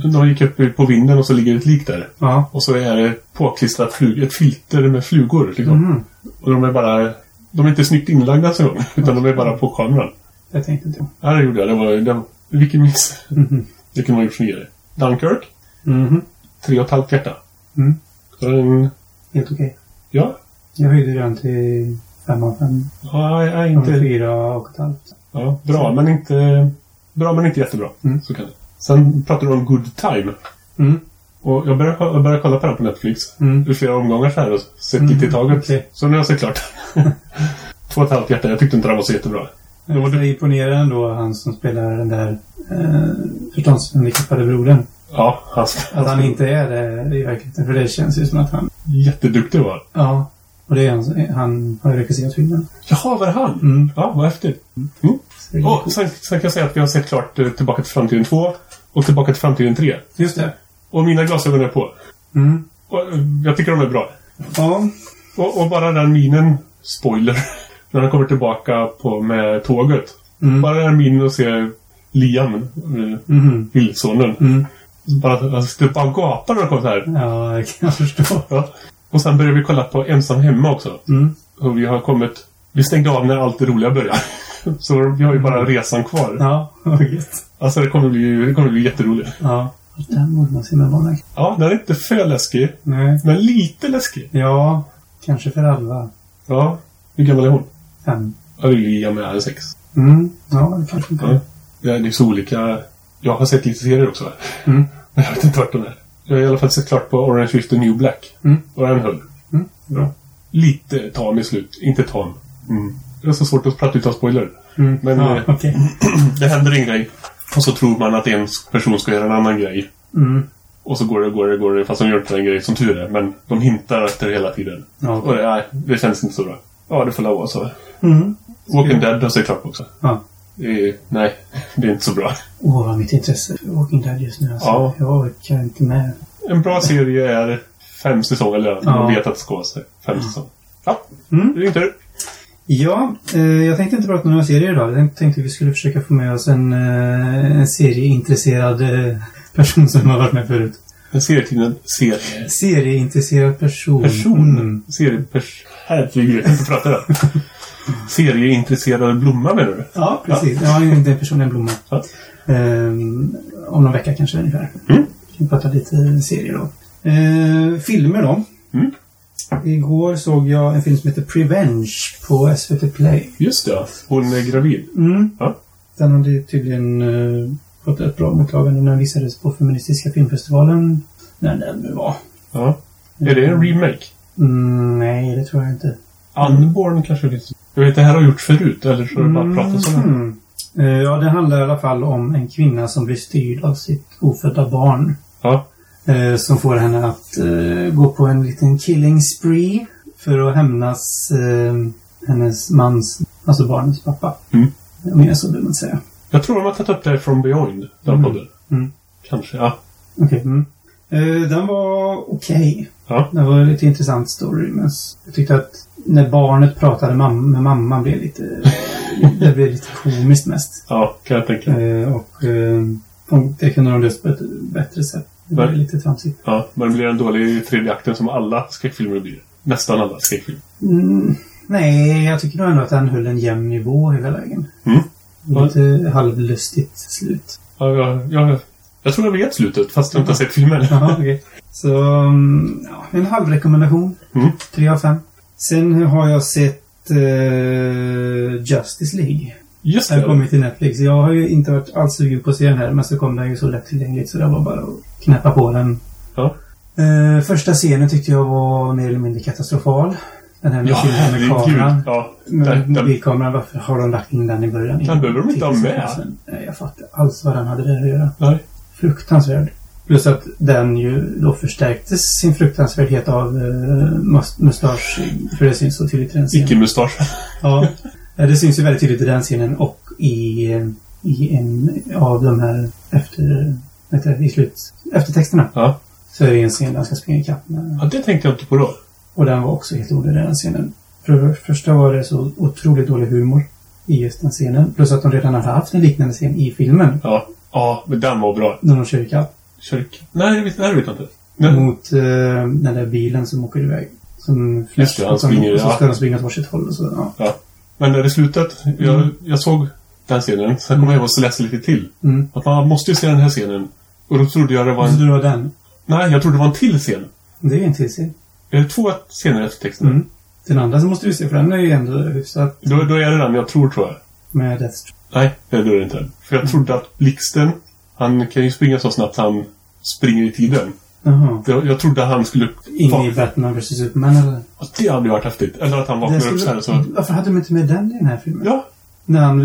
Speaker 2: De gick upp på vinden och så ligger ett lik där.
Speaker 3: Ja.
Speaker 2: Och så är det påklistrat flug, ett filter med flugor. Liksom.
Speaker 3: Mhm.
Speaker 2: Och de är bara... De är inte snyggt inlagda så gång, utan de är bara på kameran.
Speaker 3: Jag tänkte inte.
Speaker 2: Ja, det gjorde jag. Det var, det var, vilken miss.
Speaker 3: Mhm.
Speaker 2: Det kunde man ha gjort snyggare. Dunkirk,
Speaker 3: Mhm.
Speaker 2: tre och ett halvt hjärta.
Speaker 3: Mm.
Speaker 2: Så den,
Speaker 3: Helt okej.
Speaker 2: ja,
Speaker 3: Jag höjde den till fem av fem.
Speaker 2: ja, ja,
Speaker 3: Inte
Speaker 2: inte,
Speaker 3: fyra och ett halvt.
Speaker 2: ja, bra, men inte, bra men inte jättebra.
Speaker 3: Mm.
Speaker 2: Så kan det. Sen pratade du om Good Time.
Speaker 3: Mm.
Speaker 2: Och jag började, jag började kolla på den på Netflix.
Speaker 3: Mm.
Speaker 2: I flera omgångar så här och sett
Speaker 3: Mm,
Speaker 2: lite i taget.
Speaker 3: okej.
Speaker 2: Så nu har jag sett klart. Två och ett halvt hjärta. Jag tyckte inte den var så jättebra.
Speaker 3: Jag var imponerad ändå, han som spelar den där eh, förståndshandikappade brodern.
Speaker 2: Ja, hans,
Speaker 3: Att han inte är det i verkligheten. För det känns ju som att han...
Speaker 2: jätteduktig var
Speaker 3: Ja. Och det är han, han har ju regisserat filmen.
Speaker 2: Jaha, var det han?
Speaker 3: Mm.
Speaker 2: Ja, vad häftigt. Mm.
Speaker 3: Så det är
Speaker 2: Och
Speaker 3: coolt.
Speaker 2: sen, sen kan jag säga att vi har sett klart eh, Tillbaka till framtiden 2 och Tillbaka till framtiden 3.
Speaker 3: Just det.
Speaker 2: Och mina glasögon är på.
Speaker 3: Mm.
Speaker 2: Och, eh, jag tycker de är bra.
Speaker 3: Ja.
Speaker 2: Och, och bara den minen, spoiler, när han kommer tillbaka på, med tåget.
Speaker 3: Mm.
Speaker 2: Bara den minen och ser Liam, eh,
Speaker 3: Mhm.
Speaker 2: Hillsonen.
Speaker 3: Mm.
Speaker 2: Bara, han sitter bara och gapar när han kommer så här.
Speaker 3: Ja, det kan jag förstå.
Speaker 2: Ja. Och sen börjar vi kolla på Ensam Hemma också.
Speaker 3: Mm.
Speaker 2: Och vi har kommit... Vi stängde av när allt det roliga började. Så vi har ju bara resan kvar.
Speaker 3: Ja, vad gött.
Speaker 2: Alltså det kommer bli, det kommer bli jätteroligt.
Speaker 3: Ja. Den borde man se med barnen.
Speaker 2: Ja, den är inte för läskig.
Speaker 3: Nej.
Speaker 2: Men lite läskig.
Speaker 3: Ja, kanske för alla.
Speaker 2: Ja. Hur gammal är hon?
Speaker 3: Fem.
Speaker 2: Ja, det är Liam är sex.
Speaker 3: Mm. Ja, det kanske inte
Speaker 2: Ja. Ja, det är så olika. Jag har sett lite serier också.
Speaker 3: Mm.
Speaker 2: Men jag vet inte vart de är. Jag har i alla fall sett klart på Orange is the New Black.
Speaker 3: Mm.
Speaker 2: Och den höll.
Speaker 3: Mm.
Speaker 2: Bra. Lite tam i slut. Inte tam. Mm. Det är så svårt att prata utan spoiler.
Speaker 3: Mm.
Speaker 2: Men,
Speaker 3: ja,
Speaker 2: eh,
Speaker 3: okej.
Speaker 2: Det händer en grej. Och så tror man att en person ska göra en annan grej.
Speaker 3: Mm.
Speaker 2: Och så går det, går det, går det. Fast de gör inte den grejen som tur är. Men de hintar efter det hela tiden.
Speaker 3: Ja,
Speaker 2: Och
Speaker 3: okej.
Speaker 2: det, nej, det känns inte så bra. Ja, det får la vara så.
Speaker 3: Mm.
Speaker 2: Walking Dead har jag sett klart på också.
Speaker 3: Ja.
Speaker 2: Det är- nej, det är inte så bra.
Speaker 3: Åh, vad mitt intresse för Walking Dead just nu alltså.
Speaker 2: Ja.
Speaker 3: Jag orkar inte med.
Speaker 2: En bra serie är fem säsonger eller
Speaker 3: Ja.
Speaker 2: man vet att det ska vara så. Fem säsonger. Ja,
Speaker 3: Mm.
Speaker 2: det är inte
Speaker 3: Ja, eh, jag tänkte inte prata om några serier idag. Jag tänkte vi skulle försöka få med oss en, eh, en serieintresserad eh, person som har varit med förut.
Speaker 2: En serietidning. Serie.
Speaker 3: Serieintresserad person.
Speaker 2: Person.
Speaker 3: Mm.
Speaker 2: Seriepers... Herregud, jag kan inte prata där. Serieintresserad blomma menar du?
Speaker 3: Ja, precis. Ja, det är en person, en blomma.
Speaker 2: Ja.
Speaker 3: Ehm, om någon vecka kanske ungefär.
Speaker 2: Mm.
Speaker 3: Vi pratar lite serier då. Ehm, filmer då.
Speaker 2: Mm.
Speaker 3: Igår såg jag en film som heter Prevenge på SVT Play.
Speaker 2: Just det, ja. hon är gravid.
Speaker 3: Mm.
Speaker 2: Ja.
Speaker 3: Den hade ju tydligen eh, fått ett bra mottagande när den visades på Feministiska filmfestivalen. När den nu var.
Speaker 2: Ja. Är det en remake?
Speaker 3: Mm, nej, det tror jag inte.
Speaker 2: Unborn kanske finns. Mm. Jag vet, det här har gjorts förut. Eller så har det bara pratats om det.
Speaker 3: Mhm. Eh, Ja, det handlar i alla fall om en kvinna som blir styrd av sitt ofödda barn.
Speaker 2: Ja.
Speaker 3: Eh, som får henne att eh, gå på en liten killing spree för att hämnas eh, hennes mans, alltså barnets pappa. Eh,
Speaker 2: Mm.
Speaker 3: Mer så behöver man inte säga.
Speaker 2: Jag tror de har tagit upp det här från Beyond. Den
Speaker 3: Mm.
Speaker 2: podden.
Speaker 3: Mm.
Speaker 2: Kanske, ja.
Speaker 3: Okej. Mm. Eh, den var okej.
Speaker 2: Ja.
Speaker 3: Det var en lite intressant story, men s- jag tyckte att när barnet pratade mam- med mamman blev lite, det blev lite komiskt mest.
Speaker 2: Ja, kan jag tänka.
Speaker 3: Eh, och eh, de- det kunde de löst på ett bättre sätt. Det blev
Speaker 2: Nej.
Speaker 3: lite tramsigt.
Speaker 2: Ja, men det blir en dålig tredje akten som alla skräckfilmer blir. Nästan alla skräckfilmer.
Speaker 3: Mm, nej, jag tycker nog ändå att den höll en jämn nivå hela vägen.
Speaker 2: Mm.
Speaker 3: Lite halvlustigt slut.
Speaker 2: Ja, jag, jag, jag tror jag vet slutet, fast jag inte har sett filmen.
Speaker 3: Jaha, okej. Så, mm, ja, en halv rekommendation.
Speaker 2: Mm.
Speaker 3: Tre av fem. Sen har jag sett eh, Justice League.
Speaker 2: Just
Speaker 3: Den har
Speaker 2: det.
Speaker 3: kommit till Netflix. Jag har ju inte varit alls sugen på att se den här, men så kom den ju så lättillgängligt så det var bara att knäppa på den.
Speaker 2: Ja.
Speaker 3: Eh, första scenen tyckte jag var mer eller mindre katastrofal. Den här med
Speaker 2: Ja,
Speaker 3: filmen med kameran.
Speaker 2: herregud. Ja,
Speaker 3: Med
Speaker 2: Den- den-
Speaker 3: mobilkameran, varför har de lagt in den i början?
Speaker 2: Den behöver de inte ha med.
Speaker 3: Nej, jag fattar alls vad den hade där att göra.
Speaker 2: nej.
Speaker 3: Fruktansvärd. Plus att den ju då förstärktes sin fruktansvärdhet av eh, mus- mustasch. För det syns så tydligt i den scenen.
Speaker 2: Icke-mustasch.
Speaker 3: Ja, det syns ju väldigt tydligt i den scenen och i, i en av de här efter, vad heter det, i slut, eftertexterna.
Speaker 2: Ja.
Speaker 3: Så är det en scen där han ska springa ikapp med.
Speaker 2: ja, det tänkte jag inte på då.
Speaker 3: Och den var också helt onödig den scenen. För det första var det så otroligt dålig humor i just den scenen. Plus att de redan hade haft en liknande scen i filmen.
Speaker 2: Ja, ja men den var bra.
Speaker 3: När de kör ikapp
Speaker 2: Kyrk. Nej, jag vet- det här vet jag inte. Men,
Speaker 3: mot eh, den där bilen som åker iväg. Som
Speaker 2: Just det, han
Speaker 3: och som-
Speaker 2: springer,
Speaker 3: Och så
Speaker 2: ja.
Speaker 3: ska de springa åt varsitt håll och så. Ja.
Speaker 2: men är det slutet? Jag, jag såg den scenen, sen kom jag hem och läste lite till.
Speaker 3: Mm.
Speaker 2: Att man måste ju se den här scenen. Och då trodde jag det var
Speaker 3: Och så
Speaker 2: en...
Speaker 3: det var den.
Speaker 2: Nej, jag trodde det var en till scen.
Speaker 3: Det är ju en till scen.
Speaker 2: Är det två scener efter texten?
Speaker 3: Mm. Den andra så måste du se, för den är ju ändå hyfsat
Speaker 2: Då, då är det den jag tror, tror jag.
Speaker 3: med Death Stroke.
Speaker 2: Nej, det gör det inte. För jag trodde att blixten, han kan ju springa så snabbt han springer i tiden.
Speaker 3: Jaha.
Speaker 2: För Jag, jag trodde han skulle...
Speaker 3: Ingen
Speaker 2: Fan.
Speaker 3: i Batman vs Superman eller?
Speaker 2: Och Det hade ju varit häftigt. Eller att han
Speaker 3: Den
Speaker 2: vaknar upp så här så...
Speaker 3: Varför hade de inte med den i den här filmen?
Speaker 2: Ja,
Speaker 3: När han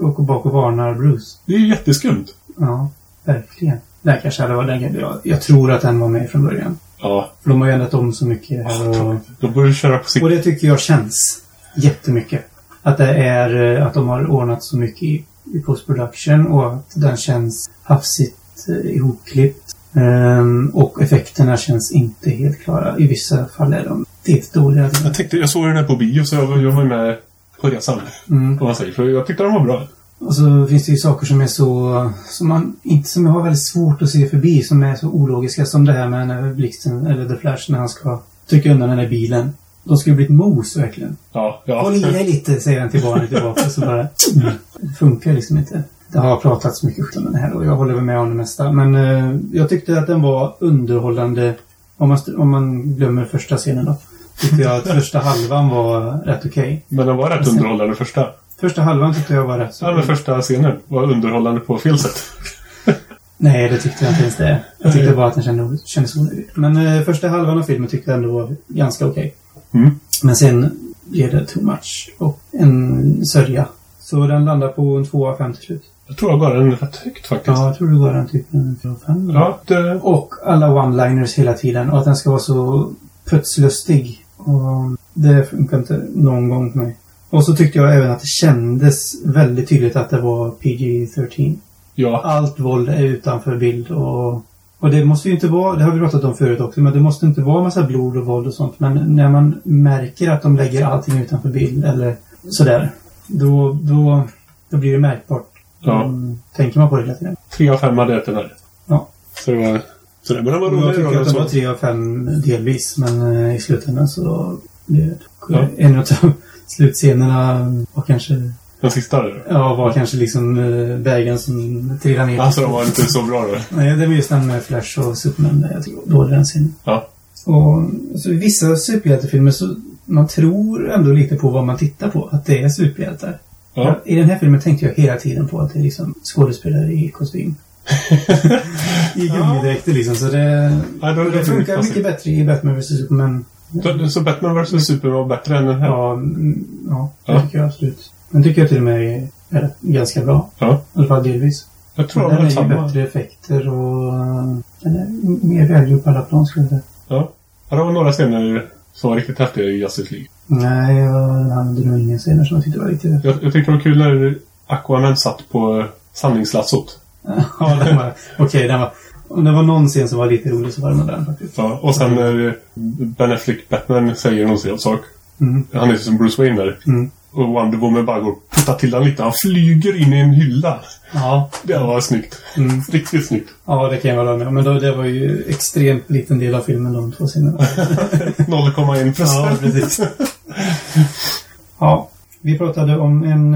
Speaker 3: eh, åker bak och varnar Bruce.
Speaker 2: det är ju jätteskumt.
Speaker 3: Ja, verkligen. Där kanske hade varit den jag, jag tror att den var med från början.
Speaker 2: Ja,
Speaker 3: För de har ju ändrat om så mycket här och...
Speaker 2: då borde du köra på sikt.
Speaker 3: Och det tycker jag känns jättemycket. Att det är eh, att de har ordnat så mycket i, i postproduktion och att den känns hafsigt eh, ihopklippt. Ehm, och effekterna känns inte helt klara. I vissa fall är de det dåliga.
Speaker 2: Jag, tänkte, jag såg den här på bio så jag, var- jag var med på resan.
Speaker 3: Mm.
Speaker 2: Vad man säger. För jag tyckte den var bra.
Speaker 3: Och så finns det ju saker som är så... Som man inte... Som jag har väldigt svårt att se förbi. Som är så ologiska. Som det här med när blixten, eller The Flash, när han ska trycka undan den där bilen. De skulle bli ett mos verkligen.
Speaker 2: Ja, ja.
Speaker 3: Håll i dig lite, säger han till barnet tillbaka. Så bara, det funkar liksom inte. Det har pratats mycket skit om den här och jag håller väl med om det mesta. Men eh, jag tyckte att den var underhållande. Om man, st- om man glömmer första scenen då. Tyckte jag att första halvan var rätt okej.
Speaker 2: Men den var rätt underhållande första.
Speaker 3: Första halvan tyckte jag var rätt så.
Speaker 2: Ja, men första scenen var underhållande på fel sätt.
Speaker 3: Nej, det tyckte jag inte ens det. Jag
Speaker 2: Eh.
Speaker 3: tyckte bara att den kändes, kändes onödig. Men eh, första halvan av filmen tyckte jag ändå var ganska okej.
Speaker 2: Mm.
Speaker 3: Men sen blev det too much och en sörja. Så den landar på en 2 av 5 till slut.
Speaker 2: Jag tror jag gav den rätt högt faktiskt.
Speaker 3: Ja, jag tror det var den typen av fem.
Speaker 2: Ja, det,
Speaker 3: Och alla one-liners hela tiden och att den ska vara så putslustig. Och det funkar inte någon gång för mig. Och så tyckte jag även att det kändes väldigt tydligt att det var PG-13.
Speaker 2: ja.
Speaker 3: Allt våld är utanför bild och... Och det måste ju inte vara, det har vi pratat om förut också, men det måste inte vara massa blod och våld och sånt. Men när man märker att de lägger allting utanför bild eller sådär. Då, då, då blir det märkbart.
Speaker 2: Ja.
Speaker 3: Mm, Tänker man på det hela tiden.
Speaker 2: Tre av fem hade jag den här.
Speaker 3: Ja.
Speaker 2: Så det var... Så det, men den var
Speaker 3: Jag
Speaker 2: rolig.
Speaker 3: tycker att de var
Speaker 2: rolig.
Speaker 3: tre av fem delvis, men eh, i slutändan så... Det,
Speaker 2: Ja.
Speaker 3: En av slutscenerna var kanske,
Speaker 2: Den sista där.
Speaker 3: ja, var kanske liksom eh, vägen som trillade ner.
Speaker 2: Alltså, den var inte så bra då.
Speaker 3: Nej, det var just den med Flash och Superman där jag tycker var dålig den scenen.
Speaker 2: Ja.
Speaker 3: Och så i vissa superhjältefilmer så man tror ändå lite på vad man tittar på, att det är superhjältar.
Speaker 2: Ja.
Speaker 3: I den här filmen tänkte jag hela tiden på att det är liksom skådespelare i kostym. I gummidräkter liksom, så det...
Speaker 2: Ja, då-
Speaker 3: Och det funkar
Speaker 2: då-
Speaker 3: mycket bättre i Batman vs Superman.
Speaker 2: Så- Så Batman vs. Superman var bättre än den här?
Speaker 3: Ja, mm, ja, det
Speaker 2: Ja.
Speaker 3: tycker jag absolut. Den tycker jag till och med är rätt- ganska bra.
Speaker 2: Ja.
Speaker 3: I alla fall delvis.
Speaker 2: Jag tror
Speaker 3: Den
Speaker 2: den var
Speaker 3: är ju
Speaker 2: samma.
Speaker 3: bättre effekter och... eh, Den är m- mer välgjord på alla plan skulle jag säga.
Speaker 2: Ja. ja. Det var några scener som var riktigt häftiga i Justice League.
Speaker 3: Nej, jag hade nog ingen scener som jag tyckte var riktigt rätt.
Speaker 2: Jag, jag tyckte det var kul när Aquaman satt på eh, samlingslassot.
Speaker 3: Ja, den var... Okej, den var... Om det var någon scen som var lite rolig så var det nog den faktiskt.
Speaker 2: Ja, och sen när eh, Ben Affleck, Batman, säger någon sån sak.
Speaker 3: Mm.
Speaker 2: Han är som Bruce Wayne där.
Speaker 3: Mm.
Speaker 2: Och Wonder Woman bara går och puttar till honom lite. Han flyger in i en hylla.
Speaker 3: Ja.
Speaker 2: Det var snyggt.
Speaker 3: Mm.
Speaker 2: Riktigt snyggt.
Speaker 3: ja, det kan jag vara med om. Men då, det var ju extremt liten del av filmen, de två scenerna.
Speaker 2: 0,1
Speaker 3: Ja,
Speaker 2: procent.
Speaker 3: precis. ja, vi pratade om en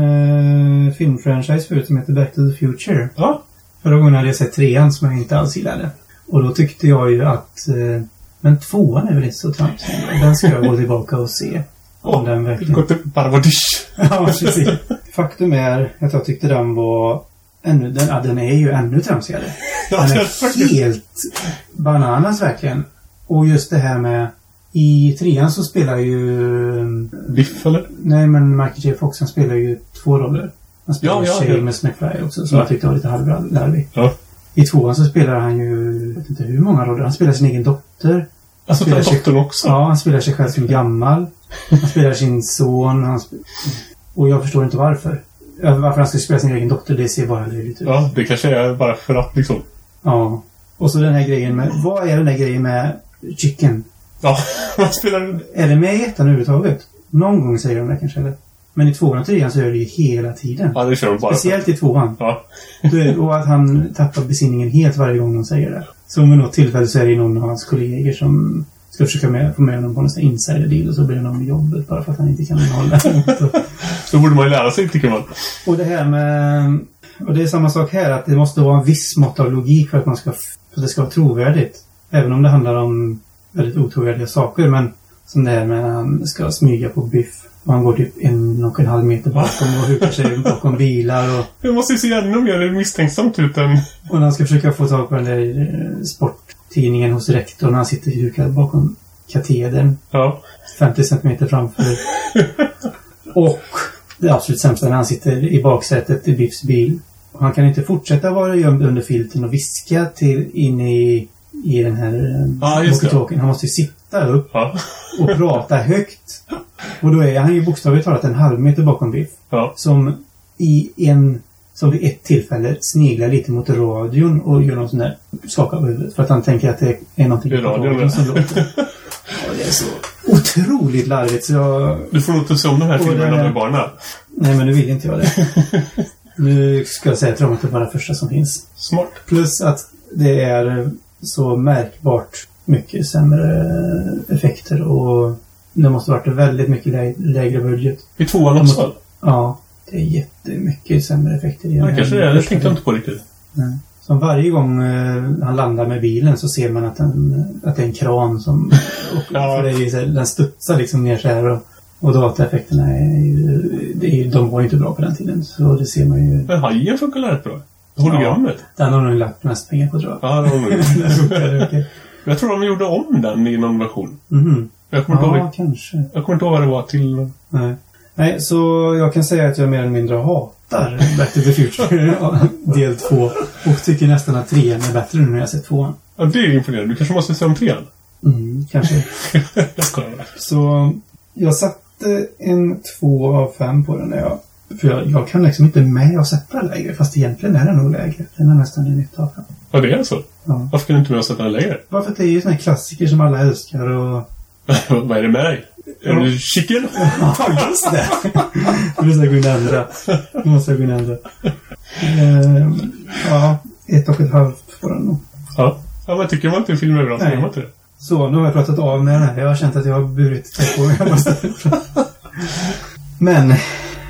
Speaker 3: eh, filmfranchise förut som heter Back to the Future.
Speaker 2: Ja.
Speaker 3: Förra gången hade jag sett trean som jag inte alls gillade. Och då tyckte jag ju att eh, men tvåan är väl inte så tramsig. Den ska jag gå tillbaka och se. Om
Speaker 2: Åh,
Speaker 3: den
Speaker 2: Gå
Speaker 3: verkligen...
Speaker 2: till Parvadish.
Speaker 3: ja, precis. Faktum är att jag tyckte den var ännu... Den, ja, den är ju ännu tramsigare.
Speaker 2: Ja,
Speaker 3: Den
Speaker 2: det är
Speaker 3: är
Speaker 2: faktiskt-
Speaker 3: helt bananas verkligen. Och just det här med... I trean så spelar ju... eh,
Speaker 2: Biff, eller?
Speaker 3: Nej, men Michael J. Fox han spelar ju två roller. Han spelar
Speaker 2: Ja,
Speaker 3: ju
Speaker 2: ja, ja.
Speaker 3: Seamus McFly också, som
Speaker 2: Ja.
Speaker 3: jag tyckte var lite halvlarvig.
Speaker 2: Ja.
Speaker 3: I tvåan så spelar han ju, jag vet inte hur många roller. Han spelar sin egen dotter.
Speaker 2: Alltså,
Speaker 3: Spelar
Speaker 2: den
Speaker 3: sig-
Speaker 2: dottern också.
Speaker 3: Ja, han spelar sig själv som gammal. Han spelar sin son. Han sp- och jag förstår inte varför. Ja, Varför han ska spela sin egen dotter, det ser bara löjligt ut.
Speaker 2: Ja, det kanske är bara för att liksom.
Speaker 3: Ja. Och så den här grejen med, vad är den här grejen med Chicken?
Speaker 2: Ja, man spelar...
Speaker 3: Är det med i ettan överhuvudtaget? Någon gång säger de det kanske, eller? Men i tvåan och trean så är det ju hela tiden.
Speaker 2: Ja, det kör de bara. för.
Speaker 3: Speciellt i tvåan.
Speaker 2: Ja.
Speaker 3: Du, och att han tappar besinningen helt varje gång de säger det. Så vid något tillfälle så är det någon av hans kollegor som ska försöka med, få med honom på en sån här insider deal och så blir han av med jobbet bara för att han inte kan hålla emot.
Speaker 2: Så borde man ju lära sig, tycker man.
Speaker 3: Och det här med... Och det är samma sak här, att det måste vara en viss mått av logik för att, man ska, för att det ska vara trovärdigt. Även om det handlar om väldigt otrovärdiga saker, men som det här med när han ska smyga på biff. Och han går typ en och en halv meter bakom och hukar sig bakom bilar och...
Speaker 2: Det måste ju se ännu mer misstänksamt ut än...
Speaker 3: Och när han ska försöka få tag på den där eh, sport tidningen hos rektorn när han sitter hukad bakom katedern.
Speaker 2: Ja.
Speaker 3: 50 centimeter framför. och det absolut sämsta när han sitter i baksätet i Biffs bil. Och Han kan inte fortsätta vara gömd under filten och viska till in i, i den här
Speaker 2: Ja,
Speaker 3: eh,
Speaker 2: just det.
Speaker 3: walkie-talkien. Han måste ju sitta upp
Speaker 2: Ja.
Speaker 3: och prata högt. Och då är han ju bokstavligt talat en halv meter bakom Biff.
Speaker 2: Ja.
Speaker 3: Som i en... Som vid ett tillfälle sneglar lite mot radion och gör någon sån där skaka på huvudet. För att han tänker att det är någonting
Speaker 2: Det är
Speaker 3: på
Speaker 2: radion,
Speaker 3: radion
Speaker 2: ja.
Speaker 3: som låter. Ja, det är så otroligt larvigt så jag...
Speaker 2: Du får nog inte se om den här
Speaker 3: Och
Speaker 2: filmen
Speaker 3: det-
Speaker 2: när du är barn här.
Speaker 3: Nej, men nu vill inte jag det. nu ska jag säga att Romantic var den första som finns.
Speaker 2: Smart.
Speaker 3: Plus att det är så märkbart mycket sämre effekter och det måste varit väldigt mycket lä- lägre budget.
Speaker 2: I tvåan också?
Speaker 3: Ja, det är jättemycket sämre effekter. i den
Speaker 2: Ja,
Speaker 3: här
Speaker 2: kanske det. är. Det
Speaker 3: första
Speaker 2: tänkte jag
Speaker 3: filmen.
Speaker 2: inte på riktigt.
Speaker 3: Nej. Som varje gång eh, han landar med bilen så ser man att, den, att det är en kran som... Och,
Speaker 2: Ja.
Speaker 3: för det är ju så här, den studsar liksom ner så här och, och dataeffekterna är ju... Det är, ju- de var ju inte bra på den tiden. Så det ser man ju.
Speaker 2: Men hajen funkar rätt bra. Hologrammet.
Speaker 3: Den har de nog lagt mest pengar på tror jag.
Speaker 2: Ja, det var nog
Speaker 3: Den funkar, okej.
Speaker 2: Jag tror de gjorde om den i någon version.
Speaker 3: Mhm.
Speaker 2: Jag kommer, inte,
Speaker 3: Ja,
Speaker 2: ihåg,
Speaker 3: kanske.
Speaker 2: jag kommer inte ihåg vad det var till.
Speaker 3: Nej. Nej, så jag kan säga att jag mer eller mindre hatar Back to the Future ja, del två. Och tycker nästan att trean är bättre nu när jag sett tvåan.
Speaker 2: Ja, det är ju imponerande. Du kanske måste se om trean?
Speaker 3: Mm, kanske.
Speaker 2: Jag skojar bara.
Speaker 3: Så jag satte en två av fem på den. När jag, för jag, jag kan liksom inte med att sätta lägre. Fast egentligen är den nog lägre. Den är nästan en ett av fem.
Speaker 2: Ja, det är så?
Speaker 3: Ja.
Speaker 2: Varför kan du inte med oss sätta den längre?
Speaker 3: Varför att det är ju såna här klassiker som alla älskar och...
Speaker 2: vad är det med dig? Är du chicken?
Speaker 3: Ja, just det! Nu måste jag gå in och ändra. Nu måste jag gå in och ändra. Ehm, ja, ett och ett halvt på den nog.
Speaker 2: Ja. ja, men tycker man inte filmen är bra så
Speaker 3: Nej.
Speaker 2: gör man inte det.
Speaker 3: Så, nu har jag pratat av med den här. Jag har känt att jag har burit det på mig. Jag måste- Men,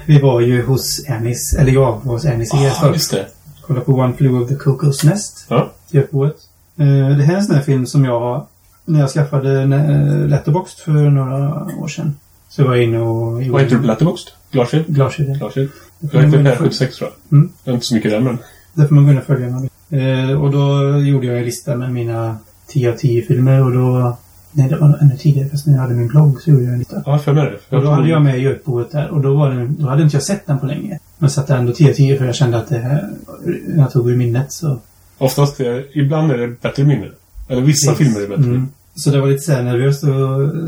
Speaker 3: vi var ju hos Anis, eller jag var hos Anis i
Speaker 2: Ja,
Speaker 3: Gästorp.
Speaker 2: Ah, just det.
Speaker 3: Kolla på One Flew of the Cuckoo's Nest.
Speaker 2: Ja.
Speaker 3: Gökboet. Eh, Det här är en sån här film som jag, när jag skaffade eh, Letterboxd för några år sedan. Så var jag inne och
Speaker 2: Vad heter du på Letterboxd? Glashed?
Speaker 3: Glashyden.
Speaker 2: Glashed?
Speaker 3: Därför
Speaker 2: Jag
Speaker 3: man
Speaker 2: heter
Speaker 3: går in
Speaker 2: Per
Speaker 3: och följ-
Speaker 2: 76 tror jag.
Speaker 3: Mm.
Speaker 2: Jag är inte så mycket där men...
Speaker 3: där får man gå in och följa mig. Eh, och då gjorde jag en lista med mina 10 av 10 filmer och då... Nej, det var ännu tidigare. Fast när jag hade min blogg så gjorde jag en lista.
Speaker 2: Ja, för mig är det.
Speaker 3: Och då
Speaker 2: tror-
Speaker 3: hade jag med Gökboet där och då, var den, då hade inte jag sett den på länge. Men satte ändå 10 av 10 för jag kände att det här, jag tog ur minnet så...
Speaker 2: Oftast är, ibland är det bättre minne. Eller vissa filmer är bättre.
Speaker 3: Mm. Så det var lite så här nervöst att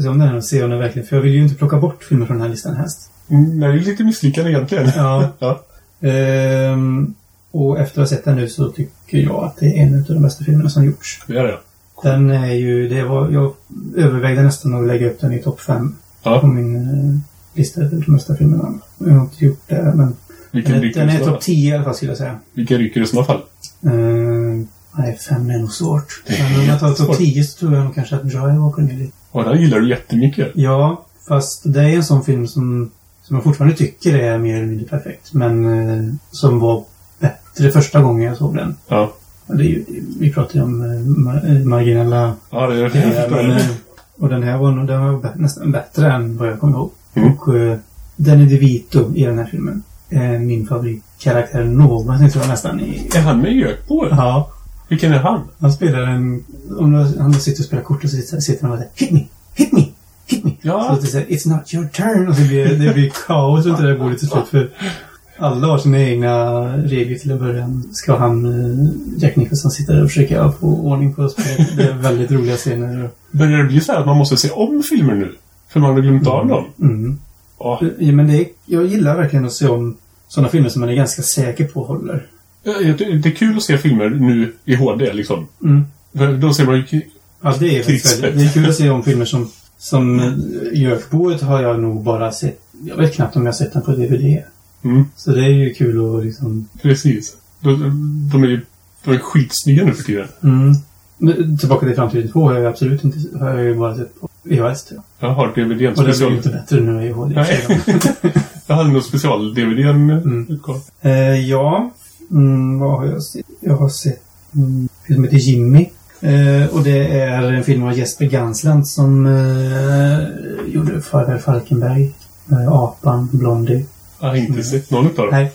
Speaker 3: se om den här och se om den verkligen... För jag vill ju inte plocka bort filmer från den här listan helst.
Speaker 2: Mm, Nej, det är lite misslyckande egentligen.
Speaker 3: Ja.
Speaker 2: ja.
Speaker 3: Ehm, och efter att ha sett den nu så tycker jag att det är en av de bästa filmerna som gjorts.
Speaker 2: Det är det.
Speaker 3: Den är ju... Det var, jag övervägde nästan att lägga upp den i topp 5 på
Speaker 2: Ja.
Speaker 3: min eh, lista över de bästa filmerna. Jag har inte gjort det, men...
Speaker 2: Vilken
Speaker 3: Den,
Speaker 2: ryker
Speaker 3: den
Speaker 2: i
Speaker 3: är
Speaker 2: sådana
Speaker 3: topp
Speaker 2: fall?
Speaker 3: 10 i alla fall, skulle jag säga.
Speaker 2: Vilken ryker i sådana fall?
Speaker 3: Ehm, nej, 5 är nog svårt. Men om jag tar topp
Speaker 2: jättesvårt.
Speaker 3: 10 så tror jag nog kanske att Drive åker ner lite.
Speaker 2: Och den gillar du jättemycket.
Speaker 3: Ja, fast det är en sån film som, som jag fortfarande tycker är mer eller mindre perfekt. Men eh, som var bättre första gången jag såg den.
Speaker 2: Ja.
Speaker 3: Ja, Det är ju, vi pratar ju om eh, ma- eh, marginella...
Speaker 2: Ja, det är
Speaker 3: grejer, men,
Speaker 2: det.
Speaker 3: eh, och den här var, nog- den var bä- nästan bättre än vad jag kommer ihåg.
Speaker 2: Mm.
Speaker 3: Och eh, Danny DeVito i den här filmen. är min favoritkaraktär någonsin tror jag nästan. I,
Speaker 2: Är han med i Jökbo?
Speaker 3: ja,
Speaker 2: Vilken är han?
Speaker 3: han spelar en... Om du- han sitter och spelar kort och så sitter sitter han och säger Hit me! Hit me! Hit me! Så
Speaker 2: Ja.
Speaker 3: att det säger It's not your turn. Och så blir det, det blir kaos runt det där bordet till slut. För alla har sina egna regler till en början. Ska han, eh, Jack Nicholson, sitta där och försöka få ordning på spelet. Det är väldigt roliga scener.
Speaker 2: Börjar det bli så här att man måste se om filmer nu? För man har glömt av dem?
Speaker 3: Mm.
Speaker 2: Ja.
Speaker 3: Ja, men det, är- jag gillar verkligen att se om sådana filmer som man är ganska säker på håller.
Speaker 2: Jag tycker Det är kul att se filmer nu i HD liksom.
Speaker 3: Mm.
Speaker 2: För Då ser man ju...
Speaker 3: Ja, Alltså, det är faktiskt
Speaker 2: Krispigt.
Speaker 3: väldigt, Det är kul att se om filmer som, som eh, Jökboet har jag nog bara sett. Jag vet knappt om jag har sett den på DVD.
Speaker 2: Mm,
Speaker 3: Så det är ju kul att liksom
Speaker 2: precis. De, de är ju de är skitsnygga nu för tiden.
Speaker 3: Mm. Nu, Tillbaka till framtiden 2 har jag ju absolut inte, har jag ju bara sett på VHS tror jag.
Speaker 2: Jag har DVDn
Speaker 3: Och det blir ju inte
Speaker 2: special.
Speaker 3: bättre nu i HD.
Speaker 2: Nej. Jag hade nog special-DVDn
Speaker 3: Mm.
Speaker 2: utgåva.
Speaker 3: Eh, ja, mm, vad har jag sett? Jag har sett mm, film heter Jimmy. Eh, och det är en film av Jesper Gansland som eh, gjorde Farväl Falkenberg, eh, Apan, Blondie.
Speaker 2: Jag har inte
Speaker 3: Mm.
Speaker 2: sett någon utav dem.
Speaker 3: Nej.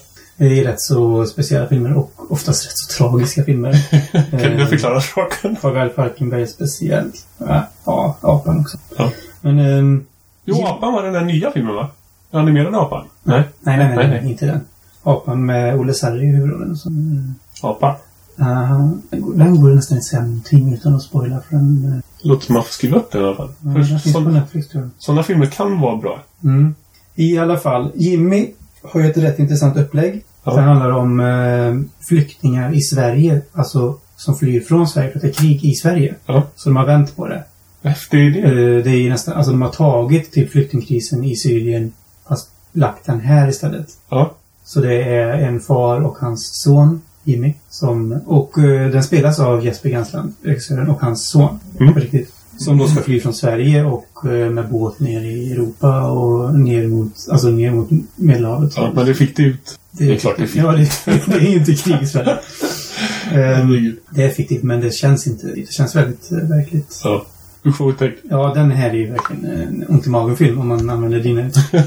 Speaker 3: i rätt så speciella filmer och oftast rätt så tragiska filmer.
Speaker 2: Kan du
Speaker 3: Eh,
Speaker 2: förklara saken?
Speaker 3: Farväl Falkenberg speciellt. Ja, ja, apan också.
Speaker 2: Ja.
Speaker 3: Men... ehm,
Speaker 2: Jo, apan var den där nya filmen va? Den animerade apan? Nej.
Speaker 3: nej, nej, nej,
Speaker 2: Nej,
Speaker 3: nej,
Speaker 2: nej.
Speaker 3: inte den. Apan med Olle Sarri i huvudrollen. som, eh,
Speaker 2: Apa.
Speaker 3: ah, den går- den går nästan inte att säga någonting utan att spoila för den... eh,
Speaker 2: Låter som man får skriva upp den i alla fall.
Speaker 3: Den
Speaker 2: För
Speaker 3: finns på
Speaker 2: sån,
Speaker 3: Netflix tror jag.
Speaker 2: sådana filmer kan vara bra.
Speaker 3: Mm. I alla fall, Jimmy har ju ett rätt intressant upplägg.
Speaker 2: Ja.
Speaker 3: Det handlar om eh, flyktingar i Sverige, alltså som flyr från Sverige för att det är krig i Sverige.
Speaker 2: Ja.
Speaker 3: Så de har vänt på det.
Speaker 2: Häftig idé.
Speaker 3: Eh, det är ju nästan, alltså de har tagit till flyktingkrisen i Syrien fast lagt den här istället.
Speaker 2: Ja.
Speaker 3: Så det är en far och hans son, Jimmy, som, och eh, den spelas av Jesper Gansland, regissören, och hans son.
Speaker 2: Mm.
Speaker 3: På riktigt. Som då ska fly från Sverige och eh, med båt ner i Europa och ner mot, alltså ner mot Medelhavet.
Speaker 2: ja. Men det fick det ut. det är klart det är
Speaker 3: Ja, det, det är ju inte krig i Sverige. Ehm,
Speaker 2: Herregud.
Speaker 3: det är fiktivt, men det känns inte. Det känns väldigt eh, verkligt.
Speaker 2: Ja. Usch vad otäckt.
Speaker 3: Ja, den här är ju verkligen en ont i magen-film om man använder dina uttryck.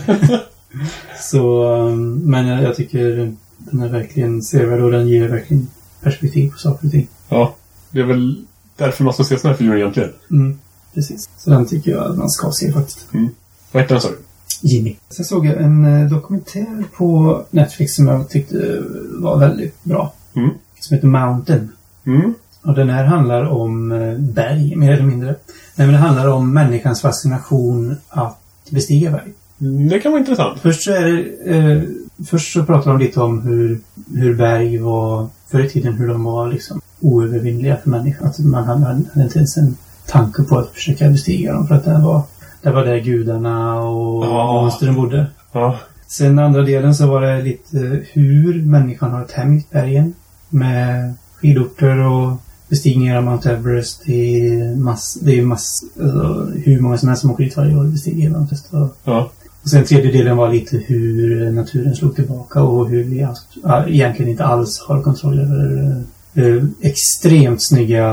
Speaker 3: Så, um, men jag, jag tycker den är verkligen sevärd och den ger verkligen perspektiv på saker och ting.
Speaker 2: Ja. Det är väl därför man ska se såna här filmer egentligen.
Speaker 3: Mm, precis. Så den tycker jag att man ska se faktiskt.
Speaker 2: Vad hette den sa du?
Speaker 3: Jimmy. Sen såg jag en eh, dokumentär på Netflix som jag tyckte var väldigt bra.
Speaker 2: Mm.
Speaker 3: Som heter Mountain.
Speaker 2: Mm.
Speaker 3: Och den här handlar om eh, berg, mer eller mindre. Nej, men det handlar om människans fascination att bestiga berg.
Speaker 2: Det kan vara intressant.
Speaker 3: Först så, är det, eh, först så pratar de lite om hur, hur berg var förr i tiden, hur de var liksom oövervinnliga för människan. Att man hade, hade inte ens en tanke på att försöka bestiga dem för att det var, det var där gudarna och
Speaker 2: Ja.
Speaker 3: monstren bodde.
Speaker 2: Ja.
Speaker 3: Sen andra delen så var det lite hur människan har tämjt bergen med skidorter och bestigningar av Mount Everest. Det är, mass, det är mass, alltså, hur många som helst som åker dit varje år och bestiger Mount Everest. Och
Speaker 2: Ja.
Speaker 3: och sen tredje delen var lite hur naturen slog tillbaka och hur vi alls- ja, egentligen inte alls har kontroll över eh, extremt snygga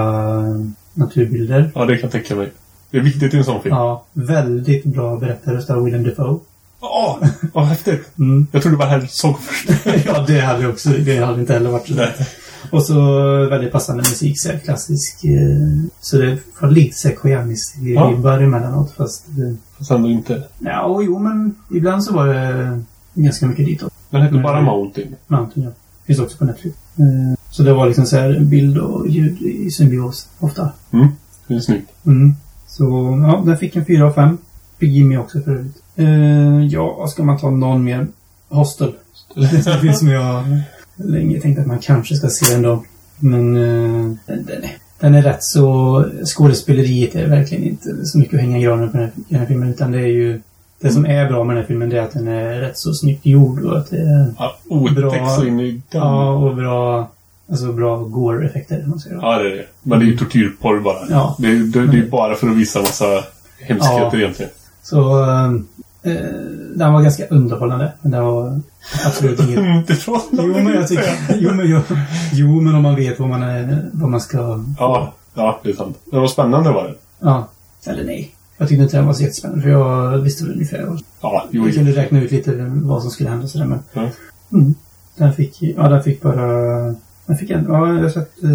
Speaker 3: naturbilder.
Speaker 2: ja, det kan jag tänka mig. Det är viktigt i en sån film.
Speaker 3: Ja, väldigt bra berättarröst av Willem Dafoe.
Speaker 2: Ja. vad häftigt.
Speaker 3: Mm.
Speaker 2: Jag trodde det var här såg först.
Speaker 3: ja, det hade också, det hade inte heller varit så
Speaker 2: Nej.
Speaker 3: Och så väldigt passande musik, så här klassisk. eh, Så det var lite så här Koyanis-vibbar emellanåt fast... eh,
Speaker 2: Fast ändå inte.
Speaker 3: Ja, jo men ibland så var det ganska mycket ditåt.
Speaker 2: Den hette
Speaker 3: Nej.
Speaker 2: bara Mountain.
Speaker 3: Mountain, ja. Finns också på Netflix. Eh, Så det var liksom så här bild och ljud i symbios ofta.
Speaker 2: Det är snyggt.
Speaker 3: Mm. Så ja, den fick en 4 av 5. Fick Jimmy också för övrigt. Eh, ja, ska man ta någon mer? Hostel. Det är en film som jag länge tänkt att man kanske ska se en dag. Men eh, den, den, är, den är rätt så... Skådespeleriet är verkligen inte så mycket att hänga i granen på den här, den här filmen. Utan det är ju... Det som är bra med den här filmen det är att den är rätt så snyggt gjord och att det är...
Speaker 2: Ja, otäckt
Speaker 3: Bra.
Speaker 2: så in i den.
Speaker 3: Ja, och bra, alltså bra gore-effekter. om man säger.
Speaker 2: Mm. Ja, det är det. Men det är ju tortyrporr bara.
Speaker 3: Ja.
Speaker 2: Det, är- det, det är bara för att visa massa hemskheter
Speaker 3: Ja.
Speaker 2: egentligen.
Speaker 3: Så ehm, eh, den var ganska underhållande. Men den var absolut inget...
Speaker 2: Inte från
Speaker 3: Jo men, jag tycker, jo, men jag, jo, men om man vet vad man, är, vad man ska...
Speaker 2: Ja, ja, det är sant. Det var spännande var det.
Speaker 3: Ja. Eller nej. Jag tyckte inte den var så jättespännande, för jag visste väl ungefär vad...
Speaker 2: Ja, jo,
Speaker 3: Jag
Speaker 2: jo.
Speaker 3: kunde räkna ut lite vad som skulle hända och sådär, men...
Speaker 2: Ja.
Speaker 3: Mm. Den fick... Ja, den fick bara... Den fick en... Ja, jag satt... Eh,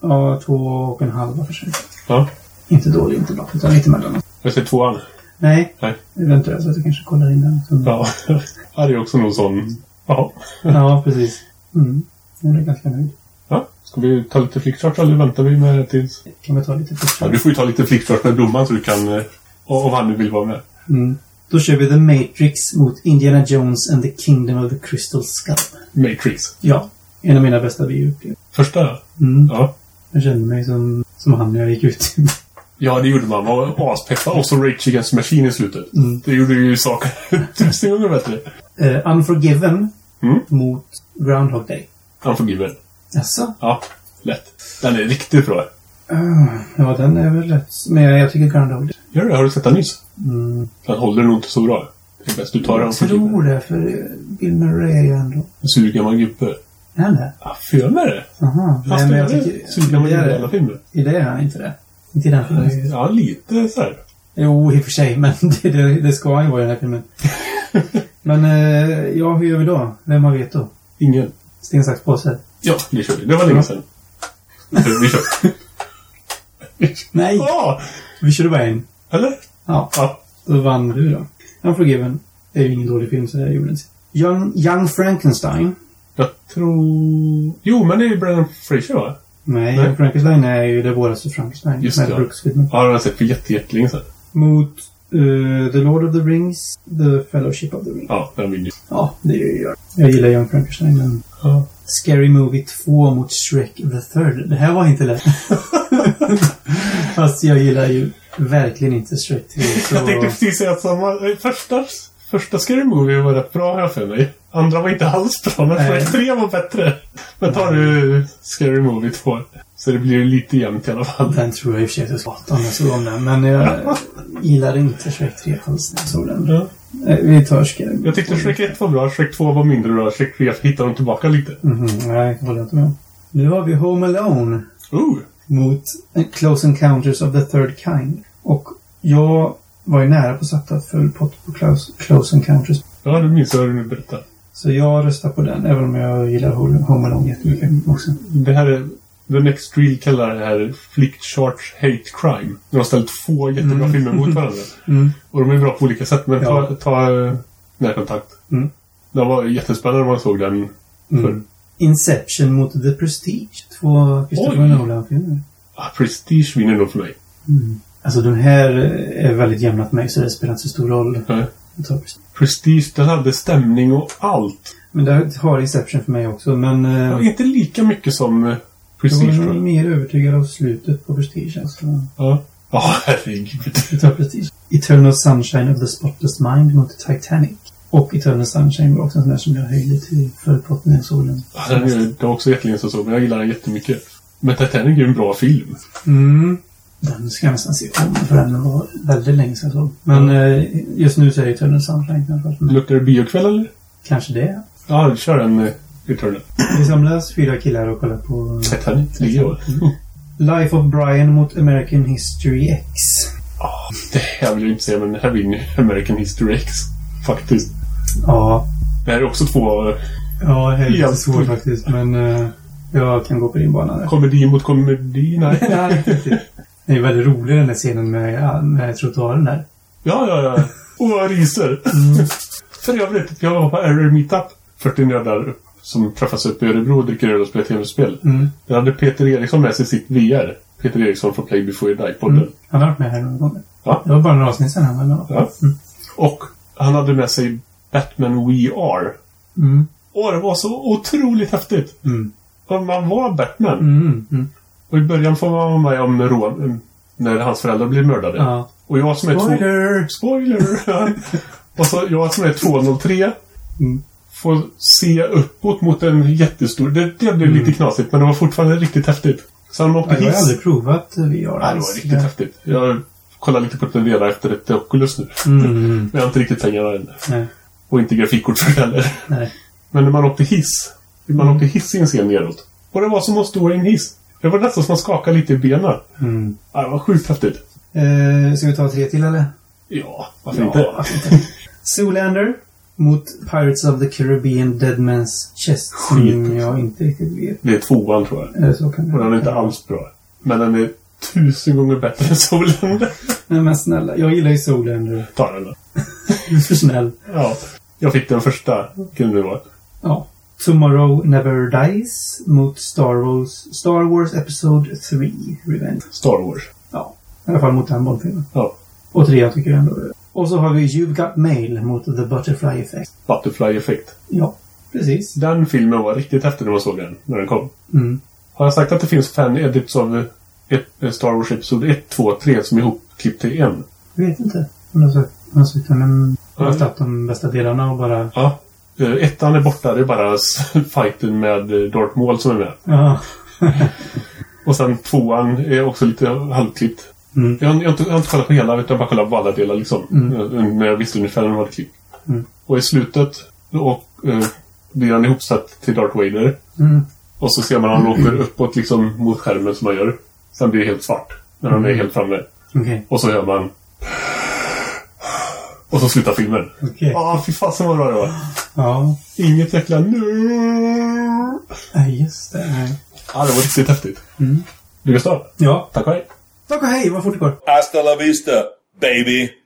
Speaker 3: ja, två och en halva för sig.
Speaker 2: ja.
Speaker 3: Inte dålig, inte bra, utan lite mellan.
Speaker 2: Jag ser tvåan.
Speaker 3: Nej.
Speaker 2: Nej.
Speaker 3: Eventuellt att jag kanske kollar in den. Så-
Speaker 2: Ja. Det är ju också någon sån... Ja.
Speaker 3: ja, precis. Mm. Jag är ganska nöjd.
Speaker 2: ja. Ska vi ta lite flickchart eller väntar vi med tills...
Speaker 3: Kan vi ta lite
Speaker 2: Ja,
Speaker 3: första?
Speaker 2: du får ju ta lite flickchart med blomman så du kan... eh, Om han nu vill vara med.
Speaker 3: Mm. Då kör vi The Matrix mot Indiana Jones and the Kingdom of the Crystal Skull.
Speaker 2: Matrix.
Speaker 3: Ja, en av mina bästa bioupplevningar.
Speaker 2: Första?
Speaker 3: Mm.
Speaker 2: Ja.
Speaker 3: Jag kände mig som, som han när jag gick ut.
Speaker 2: Ja, det gjorde man. Man var aspeppad. Och så Rage Against the Machine i slutet.
Speaker 3: Mm.
Speaker 2: Det gjorde ju saker tusen gånger bättre.
Speaker 3: Eh, Unforgiven
Speaker 2: Mm.
Speaker 3: mot Groundhog Day.
Speaker 2: Unforgiven.
Speaker 3: Jaså?
Speaker 2: Ja, lätt. Den är riktigt bra.
Speaker 3: Ah, ja, den är väl rätt. Men jag, jag tycker Groundhog Day.
Speaker 2: Gör det? Har du sett den nyss?
Speaker 3: Mm.
Speaker 2: Den håller nog inte så bra. Det är bäst du tar den
Speaker 3: Jag
Speaker 2: för gubben.
Speaker 3: tror det, för eh, Bill Murray är ju ändå...
Speaker 2: En sur gammal gubbe.
Speaker 3: Är han det?
Speaker 2: Ja, för jag med det.
Speaker 3: Jaha. Nej,
Speaker 2: Fast
Speaker 3: men
Speaker 2: Nej,
Speaker 3: jag
Speaker 2: det
Speaker 3: tycker...
Speaker 2: är sur gammal
Speaker 3: det är
Speaker 2: gubbe i
Speaker 3: det.
Speaker 2: alla filmer.
Speaker 3: I det är han inte det. Inte i den filmen.
Speaker 2: Ja, lite så här.
Speaker 3: Jo, i och för sig, men det, det, det ska han ju vara i den här filmen. men eh, ja, hur gör vi då? Vem har veto?
Speaker 2: Ingen.
Speaker 3: Sten, sax, påse.
Speaker 2: Ja, det kör vi. Det var länge sedan. Vi kör.
Speaker 3: Nej!
Speaker 2: Ja!
Speaker 3: Vi körde bara en.
Speaker 2: Eller?
Speaker 3: Ja,
Speaker 2: Ja.
Speaker 3: då vann du då. Unforgiven är ju ingen dålig film, så det gjorde inte. Young, Young Frankenstein.
Speaker 2: Jag tror... Jo, men det är ju Brennan Fraser, va?
Speaker 3: Nej,
Speaker 2: Nej.
Speaker 3: Young Frankenstein är ju det våraste Frankenstein.
Speaker 2: Just
Speaker 3: med
Speaker 2: det, ja.
Speaker 3: Brooks filmen.
Speaker 2: Ja, den har jag sett för jätte, jättelänge sedan.
Speaker 3: Mot eh, The Lord of the Rings, The Fellowship of the Ring.
Speaker 2: Ja, den vill ju.
Speaker 3: Ja, det är ju jag. Jag gillar Young Frankenstein, men...
Speaker 2: Ja.
Speaker 3: Scary Movie 2 mot Shrek the Third. Det här var inte lätt. Fast jag gillar ju verkligen inte Shrek 3. Så...
Speaker 2: Jag tänkte precis säga att samma... eh, Första, första Scary Movie var rätt bra, har jag för mig. Andra var inte alls bra, men
Speaker 3: Nej.
Speaker 2: Shrek 3 var bättre. Men tar du Scary Movie 2 så det blir ju lite jämnt i alla fall.
Speaker 3: Den tror jag i och för sig att jag skrattade när jag såg om den. Men jag gillade inte Shrek 3 alls när jag såg den.
Speaker 2: Ja.
Speaker 3: Eh, Vi tar Scary
Speaker 2: Jag tyckte Shrek 1 var bra, Shrek 2 var mindre bra, Shrek 3 hittade de tillbaka lite.
Speaker 3: Mhm, nej, det håller jag inte med om. Nu har vi Home Alone
Speaker 2: Ooh!
Speaker 3: mot eh, Close Encounters of the Third Kind. Och jag var ju nära på att sätta full pott på Close, Close Encounters
Speaker 2: Ja, det minns jag hur du berättade.
Speaker 3: Så jag röstar på den, även om jag gillar Hol- Home Alone jättemycket också.
Speaker 2: Det här är... The Next Reel kallar det här Flick Charge Hate Crime. De har ställt två jättebra filmer mot varandra.
Speaker 3: Mm.
Speaker 2: Och de är bra på olika sätt, men
Speaker 3: Ja.
Speaker 2: ta, ta eh, närkontakt.
Speaker 3: Mm.
Speaker 2: Den var jättespännande när man såg den.
Speaker 3: Mm. Inception mot The Prestige. Två Christopher
Speaker 2: Oj.
Speaker 3: Nolan-filmer.
Speaker 2: Ah, Prestige vinner nog för mig.
Speaker 3: Mm. Alltså de här eh, är väldigt jämna för mig så det spelar inte så stor roll.
Speaker 2: Nej.
Speaker 3: Jag tar Prestige.
Speaker 2: Prestige, den hade stämning och allt.
Speaker 3: Men det har Inception för mig också men... eh,
Speaker 2: Det var inte lika mycket som eh, Prestige,
Speaker 3: jag var
Speaker 2: tror jag.
Speaker 3: mer övertygad av slutet på Prestige. Alltså.
Speaker 2: Ja, Ja, herregud.
Speaker 3: Jag tar Prestige. Eternal Sunshine of the Spotless Mind mot Titanic. Och Eternal Sunshine var också en sån där som jag höjde till full pott när jag såg den.
Speaker 2: Ja, Alltså, Den är, det var också jättelänge sedan jag såg, men jag gillar den jättemycket. Men Titanic är ju en bra film.
Speaker 3: Mm. Den ska jag nästan se om för den var väldigt länge sedan jag såg. Men eh, just nu så är det Tunnel Sunshine kanske. Men
Speaker 2: Luktar det biokväll eller?
Speaker 3: kanske det.
Speaker 2: Ja, kör en eh, Returnal.
Speaker 3: Vi samlas fyra killar och kollar på
Speaker 2: Titanic, ligger jag.
Speaker 3: Life of Brian mot American History X.
Speaker 2: Det här vill jag inte säga, men här vinner ju American History X. Faktiskt.
Speaker 3: Ja,
Speaker 2: Det här är också två eh,
Speaker 3: ja det är lite
Speaker 2: Helt
Speaker 3: svårt faktiskt men eh, jag kan gå på din bana där.
Speaker 2: komedi mot komedi. Nej.
Speaker 3: Nej, inte riktigt. Det är väldigt rolig den där scenen med, med trottoaren där.
Speaker 2: Ja, ja, ja. Och jag ryser.
Speaker 3: Mm.
Speaker 2: För övrigt, jag var på Error Meetup. 40 nördar som träffas uppe i Örebro och dricker öl och spelar tv-spel.
Speaker 3: Mm.
Speaker 2: Där hade Peter Eriksson med sig sitt VR. Peter Eriksson från Play Before You Die-podden.
Speaker 3: Mm. Han har varit med här några gånger.
Speaker 2: Ja.
Speaker 3: Det var bara några avsnitt sedan han var med.
Speaker 2: Ja. Och han hade med sig Batman We Are.
Speaker 3: Mm.
Speaker 2: Åh, det var så otroligt häftigt!
Speaker 3: Mm.
Speaker 2: Och Man var Batman.
Speaker 3: Mm. Mm.
Speaker 2: Och i början får man vara med om rån. När hans föräldrar blir mördade.
Speaker 3: Ja.
Speaker 2: Och jag som är två...
Speaker 3: Spoiler!
Speaker 2: Spoiler! och så jag som är 203
Speaker 3: Mm.
Speaker 2: får se uppåt mot en jättestor... Det, det blev lite knasigt, men det var fortfarande riktigt häftigt. Så han åkte
Speaker 3: Mm. Ja, jag har
Speaker 2: hiss.
Speaker 3: aldrig provat VR
Speaker 2: Ja, det var
Speaker 3: alls.
Speaker 2: riktigt häftigt. Jag kollar lite på Tendera efter ett Oculus nu.
Speaker 3: Mm,
Speaker 2: Men jag har inte riktigt pengarna än.
Speaker 3: nej,
Speaker 2: Och inte grafikkort för det heller.
Speaker 3: nej.
Speaker 2: Men när man åkte hiss. Man
Speaker 3: Mm.
Speaker 2: åkte hiss i en scen neråt. Och det var som att stå i en hiss. Det var nästan som att skaka lite i benen.
Speaker 3: Mm.
Speaker 2: Ja, det var sjukt häftigt.
Speaker 3: Eh, ska vi ta tre till eller?
Speaker 2: Ja, varför inte?
Speaker 3: varför inte? Zoolander mot Pirates of the Caribbean Dead Man's Chest. Som
Speaker 2: Skit. alltså. Mm.
Speaker 3: jag inte riktigt vet.
Speaker 2: Det är tvåan tror jag.
Speaker 3: Eh, så kan det
Speaker 2: Och den är inte alls bra. Men den är tusen gånger bättre än solen.
Speaker 3: Nej men snälla, jag gillar ju Zoolander.
Speaker 2: Ta den då.
Speaker 3: Du är för snäll.
Speaker 2: Ja. Jag fick den första. Kunde det vara.
Speaker 3: Ja. Tomorrow Never Dies mot Star Wars, Star Wars Episode 3 Revenge.
Speaker 2: Star Wars.
Speaker 3: Ja, i alla fall mot den Bondfilmen.
Speaker 2: Ja.
Speaker 3: Och trean tycker jag ändå. Och så har vi You've Got Mail mot The Butterfly Effect.
Speaker 2: Butterfly Effect.
Speaker 3: Ja, precis.
Speaker 2: Den filmen var riktigt häftig när man såg den. När den kom.
Speaker 3: Mm.
Speaker 2: Har jag sagt att det finns fan-edits av eh, ett- eh, Star Wars Episod 1, 2 och 3 som är ihopklippt till en?
Speaker 3: Jag vet inte om de har sökt- om de har sökt den, men jag har
Speaker 2: Ja.
Speaker 3: tagit de bästa delarna och bara...
Speaker 2: Ja. Eh, Ettan är borta. Det är bara s- fighten med eh, Darth Maul som är med.
Speaker 3: Ja.
Speaker 2: Och sen tvåan är också lite halvklippt.
Speaker 3: Mm.
Speaker 2: Jag, har- jag, har inte, jag har inte kollat på hela, utan bara kollat på alla delar liksom. Mm. Men jag visste ungefär när det var klippt.
Speaker 3: Mm.
Speaker 2: Och i slutet och, eh, blir han ihopsatt till Darth Vader.
Speaker 3: Mm.
Speaker 2: Och så ser man han åker uppåt liksom mot skärmen som han gör. Sen
Speaker 3: Mm.
Speaker 2: blir det helt svart. När han är helt framme.
Speaker 3: Okej.
Speaker 2: Och så hör man... Och så slutar filmen.
Speaker 3: Okej.
Speaker 2: Ah, fy fasen vad bra det var.
Speaker 3: Ja.
Speaker 2: Inget jäkla
Speaker 3: Mm.
Speaker 2: nu.
Speaker 3: Nej, Äh, just det. Nej.
Speaker 2: Ja, Ah, det var riktigt häftigt.
Speaker 3: Mm.
Speaker 2: Du Gustav,
Speaker 3: Ja.
Speaker 2: tack och hej.
Speaker 3: Tack och hej, vad fort det går.
Speaker 1: Hasta la vista, baby.